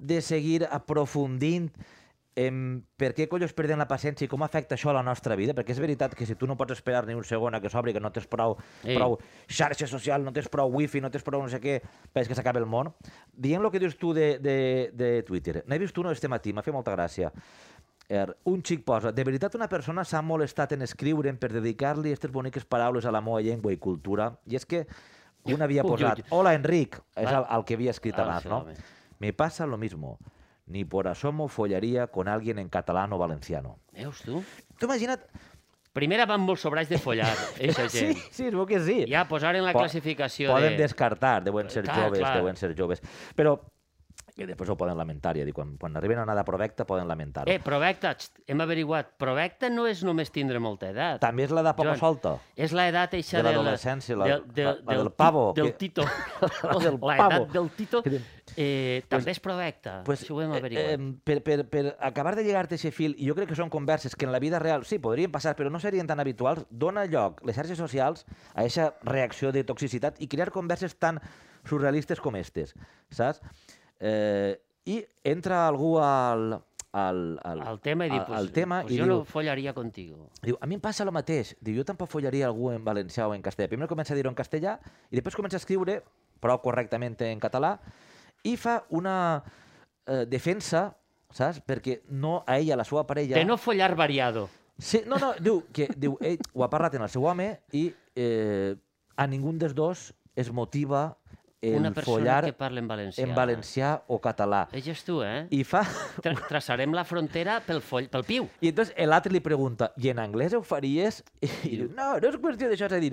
Speaker 2: de seguir aprofundint Em, per què collos perdem la paciència i com afecta això a la nostra vida? Perquè és veritat que si tu no pots esperar ni un segon a que s'obri, que no tens prou,
Speaker 1: Ei.
Speaker 2: prou xarxa social, no tens prou wifi, no tens prou no sé què, penses que s'acaba el món. Dient el que dius tu de, de, de Twitter. N'he vist una este matí, m'ha fet molta gràcia. Er, un xic posa, de veritat una persona s'ha molestat en escriure'm per dedicar-li aquestes boniques paraules a la meva llengua i cultura. I és que un havia
Speaker 1: Ui, ui,
Speaker 2: posat,
Speaker 1: ui.
Speaker 2: hola Enric, és
Speaker 1: Ah.
Speaker 2: el, el que havia escrit
Speaker 1: Ah,
Speaker 2: abans,
Speaker 1: sí,
Speaker 2: no?
Speaker 1: home.
Speaker 2: Me pasa lo mismo. Ni por asomo follaría con alguien en catalán o valenciano.
Speaker 1: Veus, tu?
Speaker 2: Tu imagina't...
Speaker 1: Primera van molt sobrats de follar, eixa gent.
Speaker 2: Sí, sí, es veu que sí.
Speaker 1: Ja, posaren la
Speaker 2: Po-
Speaker 1: classificació
Speaker 2: Poden
Speaker 1: de-
Speaker 2: descartar, deuen ser
Speaker 1: Clar,
Speaker 2: joves,
Speaker 1: clar.
Speaker 2: deuen ser joves. Però que després ho poden lamentar, ja dic, quan, quan arriben a una edat provecta poden lamentar-ho.
Speaker 1: Eh, provecta, xt, hem averiguat, provecta no és només tindre molta edat.
Speaker 2: També és l'edat poca
Speaker 1: Joan,
Speaker 2: solta.
Speaker 1: És l'edat eixa
Speaker 2: De
Speaker 1: la-
Speaker 2: l'adolescència, la-
Speaker 1: del, del,
Speaker 2: la- la del
Speaker 1: ti-
Speaker 2: pavo,
Speaker 1: Del
Speaker 2: que-
Speaker 1: Tito.
Speaker 2: La del pavo.
Speaker 1: L'edat del Tito
Speaker 2: Que-
Speaker 1: eh, també és provecta. Pues, Això ho hem
Speaker 2: eh,
Speaker 1: averiguat.
Speaker 2: eh, per, per, per acabar de lligar-te aquest fil, i jo crec que són converses que en la vida real sí, podrien passar, però no serien tan habituals, dona lloc les xarxes socials a aquesta reacció de toxicitat i crear converses tan surrealistes com estes, saps? Eh, I entra algú al... al, al
Speaker 1: el tema i dir,
Speaker 2: al,
Speaker 1: pues,
Speaker 2: al tema
Speaker 1: pues
Speaker 2: i
Speaker 1: jo
Speaker 2: diu,
Speaker 1: no follaria contigo.
Speaker 2: Diu, a mi em passa el mateix. Diu, jo tampoc follaria algú en valencià o en castellà. Primer comença a dir-ho en castellà i després comença a escriure, però correctament en català, i fa una eh, defensa, saps? Perquè no a ella, a la seva parella...
Speaker 1: Ja. De no follar variado.
Speaker 2: Sí, no, no, diu que diu, ell ho ha parlat en el seu home i eh, a ningú dels dos es motiva el
Speaker 1: Una persona
Speaker 2: follar
Speaker 1: que parla en valencià.
Speaker 2: en valencià o català.
Speaker 1: Ell és tu, eh? I...
Speaker 2: I fa
Speaker 1: Tra traçarem la frontera pel, foll, pel piu.
Speaker 2: I entonces l'altre li pregunta, i en anglès ho faries? I diu, no, no és qüestió d'això, és a dir,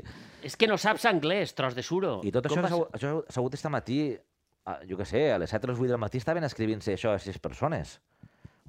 Speaker 1: És que no saps anglès, tros de suro.
Speaker 2: I tot
Speaker 1: Com
Speaker 2: això,
Speaker 1: vas-
Speaker 2: segur, això ha segut esta matí, a, jo què sé, a les 7 o les 8 del matí estaven escrivint-se això a sis persones.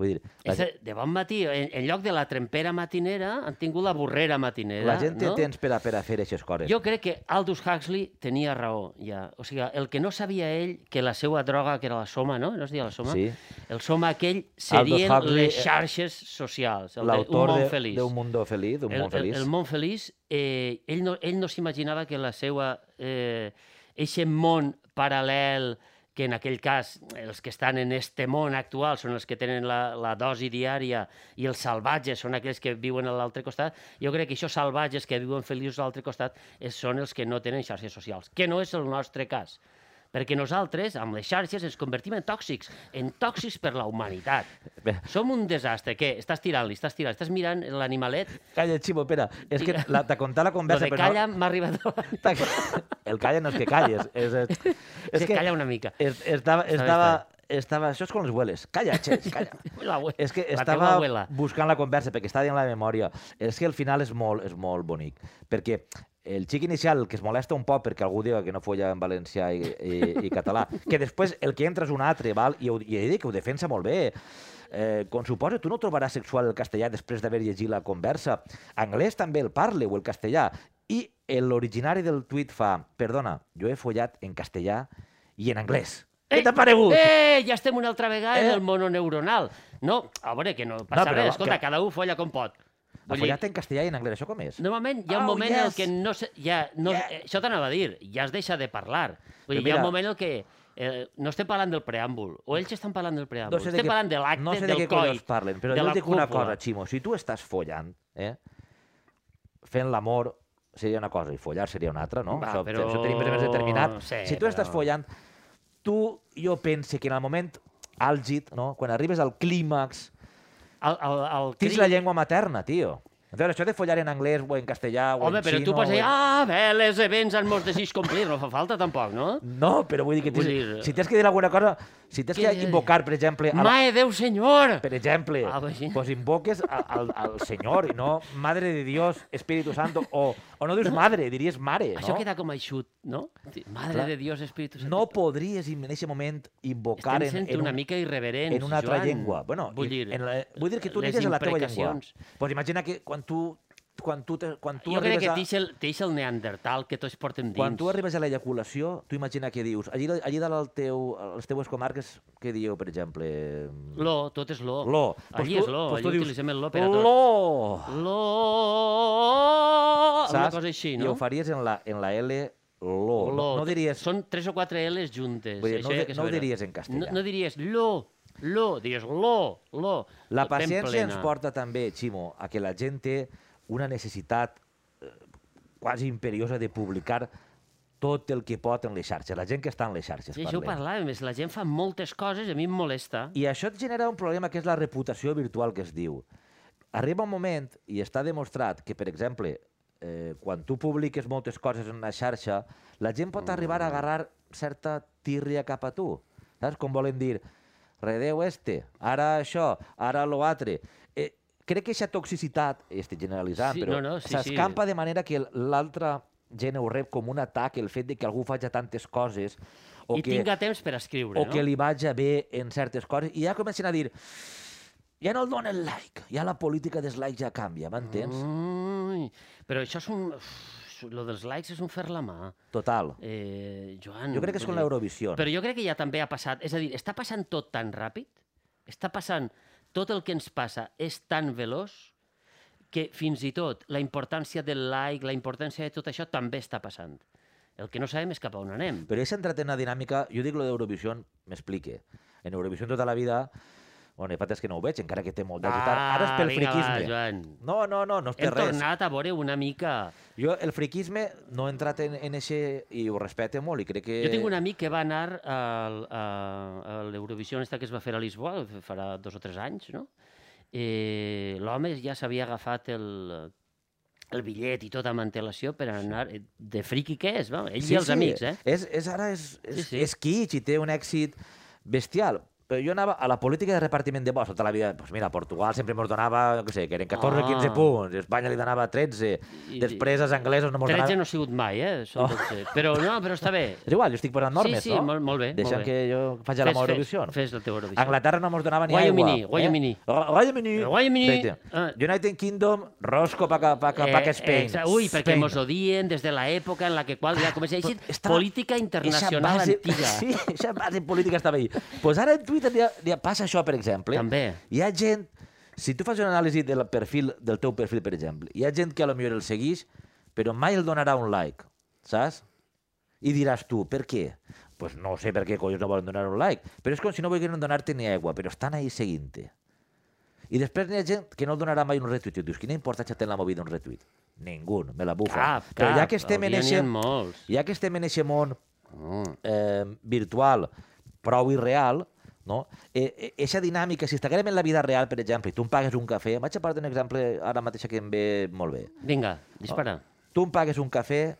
Speaker 2: Vull dir, la,
Speaker 1: És de,
Speaker 2: ge-
Speaker 1: de bon matí, en, en lloc de la trempera matinera, han tingut la borrera matinera.
Speaker 2: la gent té
Speaker 1: no?
Speaker 2: temps per a, per a fer aquestes coses.
Speaker 1: Jo crec que Aldous Huxley tenia raó, ja. O sigui, el que no sabia ell, que la seva droga, que era la soma, no? No es deia la soma?
Speaker 2: Sí.
Speaker 1: El soma aquell serien
Speaker 2: Huxley,
Speaker 1: les
Speaker 2: eh,
Speaker 1: xarxes socials. el de Un
Speaker 2: L'autor
Speaker 1: món
Speaker 2: de-
Speaker 1: feliç.
Speaker 2: d'Un Mundo Feliç, d'un
Speaker 1: el,
Speaker 2: món feliç.
Speaker 1: El, el món feliç, eh, ell no, ell no s'imaginava que la seva... Eh, eixe món paral·lel que en aquell cas els que estan en este món actual són els que tenen la, la dosi diària i els salvatges són aquells que viuen a l'altre costat, jo crec que això salvatges que viuen feliços a l'altre costat és, són els que no tenen xarxes socials, que no és el nostre cas. Perquè nosaltres, amb les xarxes, ens convertim en tòxics, en tòxics per la humanitat.
Speaker 2: Bé.
Speaker 1: Som un desastre. Què? Estàs tirant-li, estàs tirant, estàs mirant l'animalet
Speaker 2: Calla, Ximo, espera. És que
Speaker 1: Digue-
Speaker 2: la, t'ha contat la
Speaker 1: Lo
Speaker 2: conversa...
Speaker 1: de
Speaker 2: però no-
Speaker 1: calla m'ha arribat abans.
Speaker 2: Ta- El calla no és que calles. És, és,
Speaker 1: Sí, calla una mica.
Speaker 2: Es, estava,
Speaker 1: bé,
Speaker 2: estava, estava, això és com les hueles. Calla, xes, calla.
Speaker 1: La abue-
Speaker 2: és que
Speaker 1: la teva
Speaker 2: estava
Speaker 1: abuela.
Speaker 2: buscant la conversa, perquè estava dient la memòria. És que el final és molt, és molt bonic. Perquè el xic inicial, el que es molesta un poc perquè algú diga que no folla en valencià i, i, i català, que després el que entra és un altre, val? i, ho, i he de dir que ho defensa molt bé. Eh, com suposo, tu no trobaràs sexual el castellà després d'haver llegit la conversa. Anglès també el parle, o el castellà. I l'originari del tuit fa, perdona, jo he follat en castellà i en anglès. Què
Speaker 1: Ei,
Speaker 2: t'ha paregut?
Speaker 1: Eh, ja estem una altra vegada
Speaker 2: Eh.
Speaker 1: en el mononeuronal. No, a veure, que no passa
Speaker 2: però
Speaker 1: res.
Speaker 2: va,
Speaker 1: Escolta,
Speaker 2: que-
Speaker 1: cada un folla com pot.
Speaker 2: Ha
Speaker 1: Vull dir,
Speaker 2: follat en castellà i en anglès, això com és?
Speaker 1: normalment hi ha un
Speaker 2: Oh,
Speaker 1: moment en el
Speaker 2: yes.
Speaker 1: que no... Se, ja, no eh, Això t'anava a dir, ja es deixa de parlar. Vull dir, hi
Speaker 2: Però
Speaker 1: ha
Speaker 2: mira-
Speaker 1: un moment en el que eh, no estem parlant del preàmbul, o ells estan parlant del preàmbul.
Speaker 2: sé de
Speaker 1: estem
Speaker 2: què-
Speaker 1: parlant de l'acte,
Speaker 2: no sé de
Speaker 1: del
Speaker 2: què
Speaker 1: coll,
Speaker 2: collons parlen, però
Speaker 1: de
Speaker 2: jo
Speaker 1: la
Speaker 2: et dic una
Speaker 1: cúpula.
Speaker 2: cosa, Ximo, si tu estàs follant, eh, fent l'amor seria una cosa i follar seria una altra, no?
Speaker 1: Va,
Speaker 2: això,
Speaker 1: però-
Speaker 2: això tenim més determinat.
Speaker 1: no sé,
Speaker 2: si tu estàs
Speaker 1: però-
Speaker 2: follant, tu, jo pense que en el moment àlgid, no? quan arribes al clímax,
Speaker 1: El, el, el
Speaker 2: tens la llengua materna, tio. Entonces, això de follar en anglès o en castellà o
Speaker 1: Home,
Speaker 2: en
Speaker 1: però
Speaker 2: xino... eh?
Speaker 1: tu pots
Speaker 2: o
Speaker 1: dir,
Speaker 2: en-
Speaker 1: ah, bé, les events han molts desig complir, no fa falta tampoc, no?
Speaker 2: No, però vull dir que
Speaker 1: Vull
Speaker 2: tens,
Speaker 1: dir-
Speaker 2: si tens que dir alguna cosa, si tens que
Speaker 1: Que-
Speaker 2: invocar, per exemple, a la,
Speaker 1: Mare Déu, senyor!
Speaker 2: Per exemple,
Speaker 1: Ah, pues sí.
Speaker 2: pues invoques a- al, al Senyor i no Madre de Dios, Espíritu Santo, o, o no dius madre, diries mare,
Speaker 1: Això
Speaker 2: no?
Speaker 1: queda com a eixut, no? Madre
Speaker 2: Clar.
Speaker 1: de Dios, Espíritu Santo.
Speaker 2: No podries en aquest moment invocar
Speaker 1: Estem
Speaker 2: en,
Speaker 1: sent
Speaker 2: en,
Speaker 1: una
Speaker 2: un-
Speaker 1: mica irreverents,
Speaker 2: en una altra
Speaker 1: Joan.
Speaker 2: llengua. Bueno,
Speaker 1: Vull
Speaker 2: i-
Speaker 1: dir,
Speaker 2: en la, vull dir que tu
Speaker 1: les
Speaker 2: digues en la teva llengua.
Speaker 1: imprecacions.
Speaker 2: Pues imagina que quan tu, quan tu, te, quan tu
Speaker 1: jo crec
Speaker 2: arribes
Speaker 1: que
Speaker 2: a...
Speaker 1: t'eix el, t'eix el neandertal que tots portem dins.
Speaker 2: Quan tu arribes a l'ejaculació, tu imagina què dius. Allí, allí dalt al teu, a les teues comarques, què dieu, per exemple?
Speaker 1: Lo, tot és lo.
Speaker 2: Lo.
Speaker 1: Allí
Speaker 2: tu-
Speaker 1: és lo,
Speaker 2: pues tu
Speaker 1: allí
Speaker 2: dius,
Speaker 1: utilitzem el lo per a tot.
Speaker 2: Lo!
Speaker 1: Lo... Una cosa així,
Speaker 2: I
Speaker 1: no?
Speaker 2: ho faries en la, en la L, lo.
Speaker 1: Lo.
Speaker 2: No, no diries...
Speaker 1: Són tres o quatre L's juntes.
Speaker 2: Vull dir, no ho
Speaker 1: això
Speaker 2: di-
Speaker 1: que és
Speaker 2: no ho
Speaker 1: vera.
Speaker 2: diries en castellà.
Speaker 1: No, no diries lo. Lo, dius lo, lo.
Speaker 2: La
Speaker 1: tot ben
Speaker 2: paciència ens
Speaker 1: plena.
Speaker 2: porta també, Ximo, a que la gent té una necessitat eh, quasi imperiosa de publicar tot el que pot en les xarxes, la gent que està en les xarxes.
Speaker 1: Sí, això ho
Speaker 2: parlem.
Speaker 1: parlàvem, és la gent fa moltes coses i a mi em molesta.
Speaker 2: I això et genera un problema que és la reputació virtual que es diu. Arriba un moment, i està demostrat, que, per exemple, eh, quan tu publiques moltes coses en una xarxa, la gent pot arribar a
Speaker 1: Mm.
Speaker 2: agarrar certa tirria cap a tu. Saps? Com volen dir, redeu este, ara això, ara lo altre. Eh, crec que aquesta toxicitat, i estic generalitzant,
Speaker 1: Sí,
Speaker 2: però
Speaker 1: no, no, sí,
Speaker 2: s'escampa de manera que l'altra gent ho rep com un atac, el fet de que algú faci tantes coses, o
Speaker 1: I
Speaker 2: que
Speaker 1: tinga temps per escriure,
Speaker 2: o
Speaker 1: no?
Speaker 2: que li vaja bé en certes coses, i ja comencen a dir ja no el donen like, ja la política dels likes ja canvia, m'entens? Mm.
Speaker 1: Ai, però això és un... Uf, lo dels likes és un fer la mà.
Speaker 2: Total.
Speaker 1: Eh, Joan...
Speaker 2: Jo crec que és
Speaker 1: vull
Speaker 2: com
Speaker 1: dir-
Speaker 2: l'Eurovisió.
Speaker 1: Però jo crec que ja també ha passat... És a dir, està passant tot tan ràpid, està passant... Tot el que ens passa és tan veloç que fins i tot la importància del like, la importància de tot això també està passant. El que no sabem és cap a on anem.
Speaker 2: Però és entrat en una dinàmica, jo dic lo d'Eurovisió, m'explique. En Eurovisió tota la vida, bueno, el fet és que no ho veig, encara que té molt d'agitat.
Speaker 1: Va,
Speaker 2: Ara és
Speaker 1: Ah,
Speaker 2: pel
Speaker 1: vinga, va,
Speaker 2: friquisme.
Speaker 1: Joan.
Speaker 2: no, no, no, no és per
Speaker 1: Hem
Speaker 2: res.
Speaker 1: tornat a veure una mica...
Speaker 2: Jo, el friquisme no he entrat en, en eixe, i ho respecte molt, i crec que...
Speaker 1: Jo tinc un amic que va anar al, a, a l'Eurovisió esta que es va fer a Lisboa, farà dos o tres anys, no? Eh, L'home ja s'havia agafat el, el bitllet i tota amb antelació per anar... eh, De friqui que és, va? Ell sí, i els sí. amics, eh?
Speaker 2: És, és, ara és, és,
Speaker 1: Sí,
Speaker 2: sí,
Speaker 1: sí.
Speaker 2: sí. és kitsch i té un èxit bestial. Però jo anava a la política de repartiment de vots tota la vida. Pues mira, Portugal sempre mos donava, què sé, que eren 14
Speaker 1: Ah.
Speaker 2: o 15 punts, Espanya li donava 13,
Speaker 1: I-
Speaker 2: després Oh. els anglesos no mos
Speaker 1: 13
Speaker 2: donaven...
Speaker 1: no ha sigut mai, eh? Són 12. Però no, però està bé.
Speaker 2: És igual, jo estic posant normes,
Speaker 1: sí,
Speaker 2: no?
Speaker 1: molt- molt bé,
Speaker 2: Deixa'm
Speaker 1: molt bé.
Speaker 2: que jo faci la meva Eurovisió.
Speaker 1: Fes, fes la teva Eurovisió.
Speaker 2: Anglaterra no mos donava ni
Speaker 1: Wyoming,
Speaker 2: aigua.
Speaker 1: Wyoming.
Speaker 2: Ro- Wyoming.
Speaker 1: Eh, Wyoming,
Speaker 2: Vete.
Speaker 1: eh.
Speaker 2: United Kingdom, Rosco pa, pa, pa, pa,
Speaker 1: Eh,
Speaker 2: pa Spain.
Speaker 1: exa- Ui, perquè
Speaker 2: Spain. Ah,
Speaker 1: mos odien des de l'època en la que qual ja comença a dir
Speaker 2: Però estava-
Speaker 1: política internacional
Speaker 2: eixa base,
Speaker 1: antiga.
Speaker 2: Sí, aquesta base política estava ahí. Doncs pues ara en Twitter ja, ja passa això, per exemple.
Speaker 1: També.
Speaker 2: Hi ha gent... Si tu fas una anàlisi del perfil del teu perfil, per exemple, hi ha gent que a lo millor el segueix, però mai el donarà un like, saps? I diràs tu, per què? Doncs pues no sé per què collons no volen donar un like, però és com si no volguessin donar-te ni aigua, però estan ahí seguint-te. I després n'hi ha gent que no el donarà mai un retuit. I dius, quina importància té en la movida un retuit? Ningú, me la bufa.
Speaker 1: Cap, cap.
Speaker 2: Però ja que estem en
Speaker 1: Hauria n'hi ha
Speaker 2: eixe-
Speaker 1: molts.
Speaker 2: ja que estem en aquest món
Speaker 1: Mm.
Speaker 2: eh, virtual prou irreal, no? Eh, eh, eixa dinàmica, si estiguem en la vida real, per exemple, i tu em pagues un cafè, vaig a part d'un exemple ara mateix que em ve molt bé.
Speaker 1: Vinga, dispara.
Speaker 2: Tu em pagues un cafè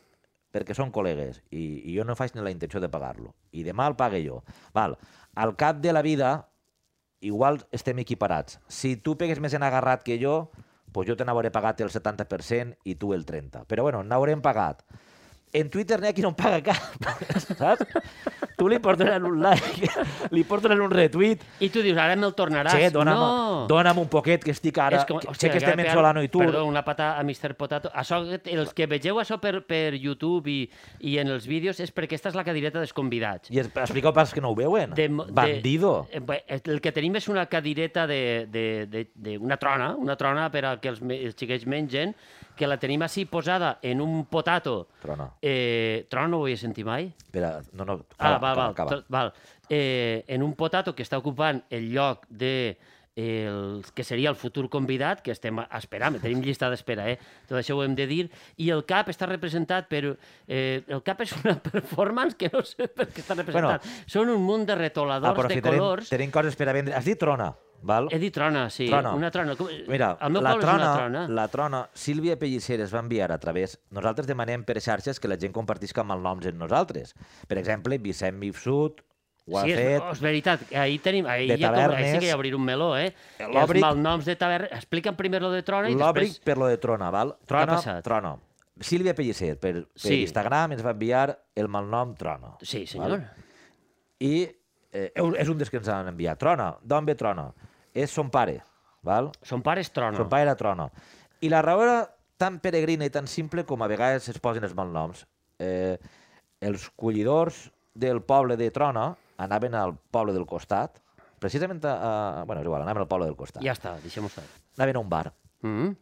Speaker 2: perquè són col·legues i, i jo no faig ni la intenció de pagar-lo. I demà el pague jo. Val. Al cap de la vida, igual estem equiparats. Si tu pegues més en agarrat que jo, pues jo te n'hauré pagat el 70% i tu el 30%. Però bueno, n'haurem pagat. En Twitter n'hi ha qui no en paga cap, saps? tu li pots donar un like, li pots donar un retweet,
Speaker 1: I tu dius, ara me'l tornaràs.
Speaker 2: che, dona'm,
Speaker 1: no.
Speaker 2: dona'm un poquet que estic ara, que, sé
Speaker 1: acaba
Speaker 2: que estem en
Speaker 1: pegant-
Speaker 2: Solano i tu,
Speaker 1: Perdó, una pata a Mr. Potato. Això, els que vegeu això per, per YouTube i, i en els vídeos és perquè aquesta és la cadireta dels convidats.
Speaker 2: i es- expliqueu pas que no ho veuen.
Speaker 1: De mo- de-
Speaker 2: Bandido.
Speaker 1: eh, bé, El que tenim és una cadireta de, de, de, de una trona, una trona per a que els, me- els xiquets mengen, que la tenim així posada en un potato.
Speaker 2: Trona.
Speaker 1: Eh, trona no ho havia sentit mai?
Speaker 2: Espera, no, no,
Speaker 1: Ah,
Speaker 2: acaba,
Speaker 1: val,
Speaker 2: acaba,
Speaker 1: val,
Speaker 2: acaba.
Speaker 1: tot- val. Eh, en un potato que està ocupant el lloc de eh, el que seria el futur convidat, que estem esperant, tenim llista d'espera, eh? tot això ho hem de dir, i el CAP està representat per... Eh, el CAP és una performance que no sé per què està representat. Bueno, Són un munt de retoladors de
Speaker 2: Aprofitarem,
Speaker 1: colors.
Speaker 2: Ah, tenim coses per a vendre. Has dit trona, val?
Speaker 1: He dit trona, sí,
Speaker 2: Trona.
Speaker 1: una trona. Com-
Speaker 2: Mira,
Speaker 1: el meu
Speaker 2: la
Speaker 1: poble
Speaker 2: trona,
Speaker 1: és una trona.
Speaker 2: la trona, Sílvia Pellicer es va enviar a través... Nosaltres demanem per xarxes que la gent compartisca malnoms en nosaltres. Per exemple, Vicent Mifsud ho ha
Speaker 1: sí,
Speaker 2: fet...
Speaker 1: És, oh, és veritat, ahir tenim... Ahir
Speaker 2: De
Speaker 1: ja, com, ahir sí
Speaker 2: tavernes.
Speaker 1: que hi obrir un meló, eh? Els
Speaker 2: L'Òbric-
Speaker 1: malnoms de taverna... Explica'm primer lo de trona i
Speaker 2: L'òbric
Speaker 1: després...
Speaker 2: per lo de Trona, val?
Speaker 1: ha
Speaker 2: Trona,
Speaker 1: passat?
Speaker 2: Trona. Sílvia Pellicer, per, per
Speaker 1: Sí.
Speaker 2: Instagram, ens va enviar el malnom Trona.
Speaker 1: Sí, senyor.
Speaker 2: I eh, eu- és un dels que ens han enviat. Trona, d'on ve Trona? És son pare, val?
Speaker 1: Son pare és trona.
Speaker 2: Son pare era Trona. I la raó era tan peregrina i tan simple com a vegades es posen els malnoms. Eh, els collidors del poble de Trona anaven al poble del costat, precisament a... a bueno, és igual, anaven al poble del costat.
Speaker 1: Ja està, deixem-ho estar.
Speaker 2: Anaven a un bar.
Speaker 1: Mm.
Speaker 2: Mm-hmm.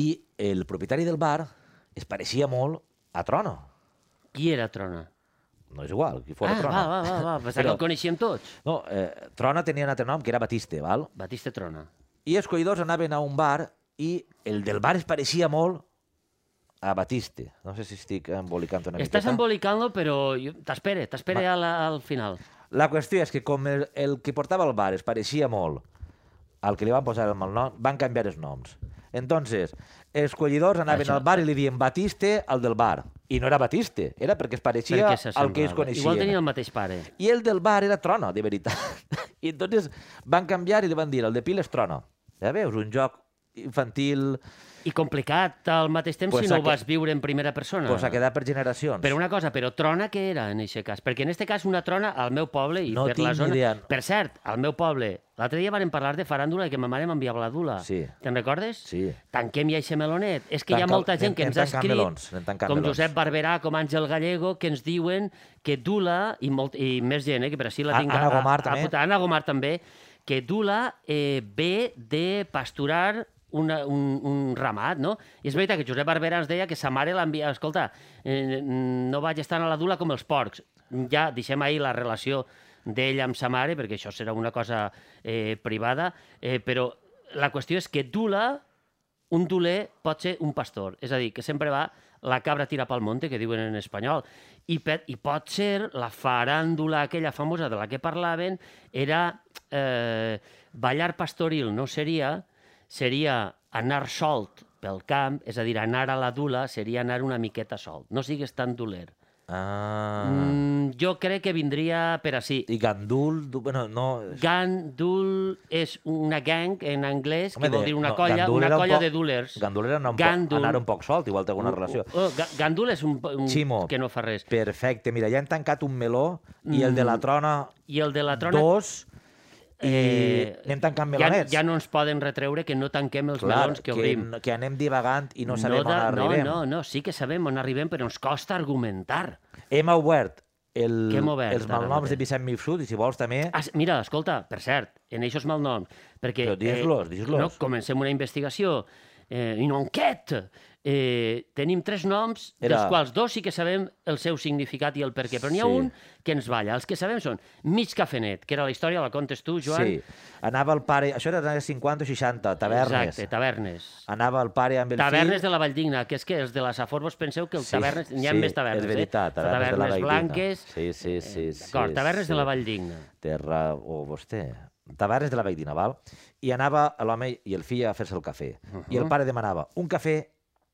Speaker 2: I el propietari del bar es pareixia molt a Trono.
Speaker 1: Qui era Trona?
Speaker 2: no és igual, qui fora
Speaker 1: Ah,
Speaker 2: Trona.
Speaker 1: va, va, va, va. Pensava que
Speaker 2: Però-
Speaker 1: el coneixíem tots.
Speaker 2: No, eh, Trona tenia un altre nom, que era Batiste, val?
Speaker 1: Batista Trona.
Speaker 2: I els collidors anaven a un bar i el del bar es pareixia molt a Batiste. No sé si estic embolicant una
Speaker 1: Estàs
Speaker 2: miqueta.
Speaker 1: embolicant-lo, però jo- t'espere, t'espere al, al final.
Speaker 2: La qüestió és que com el, el que portava el bar es pareixia molt al que li van posar el malnom, van canviar els noms. Entonces, els collidors anaven
Speaker 1: Això-
Speaker 2: al bar i li diuen Batiste al del bar. I no era Batiste, era perquè es pareixia
Speaker 1: perquè
Speaker 2: al que
Speaker 1: s'assemblava.
Speaker 2: ells coneixien.
Speaker 1: Igual tenia el mateix pare.
Speaker 2: I el del bar era Trono, de veritat. I entonces van canviar i li van dir, el de pil és Trono. Ja veus, un joc infantil,
Speaker 1: I complicat al mateix temps
Speaker 2: Pues
Speaker 1: si no
Speaker 2: a
Speaker 1: ho
Speaker 2: que-
Speaker 1: vas viure en primera persona.
Speaker 2: pues a quedar per generacions.
Speaker 1: Ah. Però una cosa, però trona què era en aquest cas? Perquè en aquest cas una trona al meu poble i
Speaker 2: No
Speaker 1: per la
Speaker 2: tinc ni
Speaker 1: zona...
Speaker 2: idea.
Speaker 1: Per cert, al meu poble, l'altre dia vàrem parlar de faràndula i que ma mare m'enviava la dula.
Speaker 2: Sí.
Speaker 1: Te'n recordes?
Speaker 2: Sí.
Speaker 1: Tanquem ja aquest melonet. És que hi
Speaker 2: Tanca-
Speaker 1: ha molta
Speaker 2: anem-
Speaker 1: gent que ens ha
Speaker 2: anem tancant
Speaker 1: escrit,
Speaker 2: melons, anem tancant
Speaker 1: com
Speaker 2: melons.
Speaker 1: Josep Barberà, com Àngel Gallego, que ens diuen que dula, i, molt, i més gent, eh, que per així la
Speaker 2: A-
Speaker 1: tinc...
Speaker 2: Anna Gomar, també.
Speaker 1: apuntada, Anna Gomar també, que dula eh, ve de pasturar una, un, un ramat, no? I és veritat que Josep Barberà ens deia que sa mare l'envia... Escolta, eh, no vaig estar a la dula com els porcs. Ja deixem ahir la relació d'ell amb sa mare, perquè això serà una cosa eh, privada, eh, però la qüestió és que dula, un duler pot ser un pastor, és a dir, que sempre va la cabra tira pel monte, que diuen en espanyol, i, pe- i pot ser la faràndula aquella famosa de la que parlaven, era eh, ballar pastoril, no seria, seria anar solt pel camp, és a dir, anar a la dula seria anar una miqueta solt, no sigues tan doler.
Speaker 2: Ah,
Speaker 1: Mm, jo crec que vindria per així.
Speaker 2: I Gandul... du- Bueno, no...
Speaker 1: Gandul és una gang en anglès que
Speaker 2: Home,
Speaker 1: vol
Speaker 2: de-
Speaker 1: dir una
Speaker 2: no,
Speaker 1: colla,
Speaker 2: Gandul
Speaker 1: una
Speaker 2: era un
Speaker 1: colla
Speaker 2: poc-
Speaker 1: de dulers.
Speaker 2: Gandul era anar un,
Speaker 1: Gandul.
Speaker 2: Poc, anar un poc solt, igual té alguna relació.
Speaker 1: Oh, Ga- Gandul és un, un
Speaker 2: Ximo.
Speaker 1: que no fa res.
Speaker 2: Perfecte, mira, ja han tancat un meló i el de la trona,
Speaker 1: I el de Mm. la trona...
Speaker 2: dos i eh, anem tancant
Speaker 1: ja,
Speaker 2: melonets.
Speaker 1: ja no ens poden retreure que no tanquem els melons que obrim.
Speaker 2: que, que anem divagant i no sabem
Speaker 1: de-
Speaker 2: on arribem.
Speaker 1: No, no, no, sí que sabem on arribem, però ens costa argumentar.
Speaker 2: Hem obert, el,
Speaker 1: Què hem obert
Speaker 2: els
Speaker 1: ara
Speaker 2: malnoms de
Speaker 1: mateix?
Speaker 2: Vicent Mifsud i si vols també...
Speaker 1: Ah, s- mira, escolta, per cert, en eixos malnoms, perquè... eh,
Speaker 2: Però dis-los, dis-los.
Speaker 1: No, comencem una investigació, eh, una enqueta. Eh, tenim tres noms, Era...
Speaker 2: Era-
Speaker 1: dels quals dos sí que sabem el seu significat i el per què, però n'hi ha
Speaker 2: Sí.
Speaker 1: un que ens balla. Els que sabem són Mig Cafenet, que era la història, la contes tu, Joan.
Speaker 2: Sí, anava el pare... Això era als anys 50 o 60, tavernes.
Speaker 1: Exacte, tavernes.
Speaker 2: Anava el pare amb el
Speaker 1: Tavernes
Speaker 2: fill...
Speaker 1: de la Valldigna, que és que els de la Safor vos penseu que els
Speaker 2: Sí,
Speaker 1: tavernes... N'hi ha
Speaker 2: sí,
Speaker 1: més tavernes,
Speaker 2: és veritat,
Speaker 1: eh?
Speaker 2: tavernes de la
Speaker 1: tavernes
Speaker 2: Valldigna.
Speaker 1: blanques...
Speaker 2: Sí, sí,
Speaker 1: eh,
Speaker 2: sí, sí,
Speaker 1: D'acord, tavernes
Speaker 2: sí.
Speaker 1: de la Valldigna.
Speaker 2: Terra o vostè... Tavernes de la Valldigna, val? I anava l'home i el fill a fer-se el cafè. I
Speaker 1: Uh-huh.
Speaker 2: el pare demanava un cafè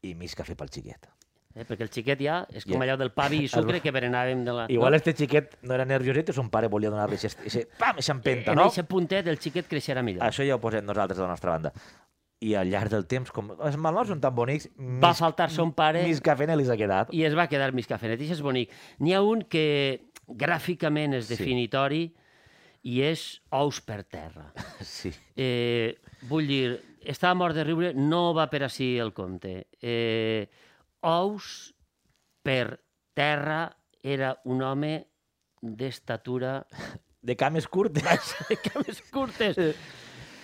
Speaker 2: i mig cafè pel xiquet.
Speaker 1: Eh? Perquè el xiquet ja és com
Speaker 2: Ja.
Speaker 1: allò del pavi i sucre que berenàvem de la...
Speaker 2: Igual este xiquet no era nervioset i son pare volia donar-li aquest... aquest- Pam,
Speaker 1: no?
Speaker 2: xampenta,
Speaker 1: En
Speaker 2: no?
Speaker 1: aquest puntet el xiquet creixerà millor.
Speaker 2: Això ja ho posem nosaltres de la nostra banda. I al llarg del temps, com els malnoms són tan bonics,
Speaker 1: Va faltar son pare
Speaker 2: Miss Cafè n'hi ha quedat.
Speaker 1: i es va quedar Miss Cafenet. I això és bonic. N'hi ha un que gràficament és
Speaker 2: Sí.
Speaker 1: definitori i és ous per terra.
Speaker 2: Sí.
Speaker 1: Eh, vull dir, estava mort de riure, no va per així el compte. Eh, ous per terra era un home d'estatura
Speaker 2: De cames curtes.
Speaker 1: de cames curtes.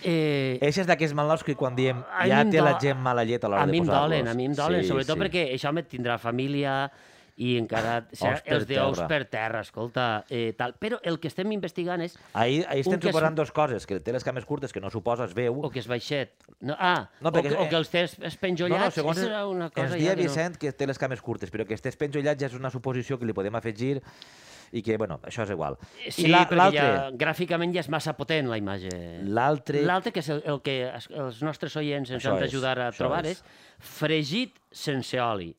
Speaker 1: Eh,
Speaker 2: Eixa és d'aquests malnoms que quan diem
Speaker 1: A
Speaker 2: ja
Speaker 1: mi em
Speaker 2: té la
Speaker 1: dol-
Speaker 2: gent mala llet a l'hora
Speaker 1: a
Speaker 2: de
Speaker 1: mi em
Speaker 2: posar-los.
Speaker 1: dolen, a mi em dolen,
Speaker 2: Sí,
Speaker 1: sí, sobretot
Speaker 2: sí.
Speaker 1: sí. perquè això me tindrà família i encara serà
Speaker 2: per
Speaker 1: els de ous
Speaker 2: terra.
Speaker 1: per terra, escolta, eh, tal. Però el que estem investigant és
Speaker 2: Ahir, ahir
Speaker 1: Un
Speaker 2: estem
Speaker 1: que és-
Speaker 2: suposant dues coses, que té les cames curtes, que no suposa, es veu.
Speaker 1: o que és baixet. No, ah, no,
Speaker 2: No, perquè-
Speaker 1: perquè, o, que, o que els tens espenjollats, no, no, segons, era una cosa
Speaker 2: ens dia
Speaker 1: ja que no...
Speaker 2: Vicent que té les cames curtes, però que estés penjollat ja és una suposició que li podem afegir i que, bueno, això és igual.
Speaker 1: Eh, Sí,
Speaker 2: I la-
Speaker 1: perquè ja, gràficament ja és massa potent la imatge.
Speaker 2: L'altre...
Speaker 1: L'altre, que és el, el que es- els nostres oients ens
Speaker 2: Això
Speaker 1: han
Speaker 2: és,
Speaker 1: d'ajudar a
Speaker 2: això
Speaker 1: trobar,
Speaker 2: és.
Speaker 1: és. fregit sense oli.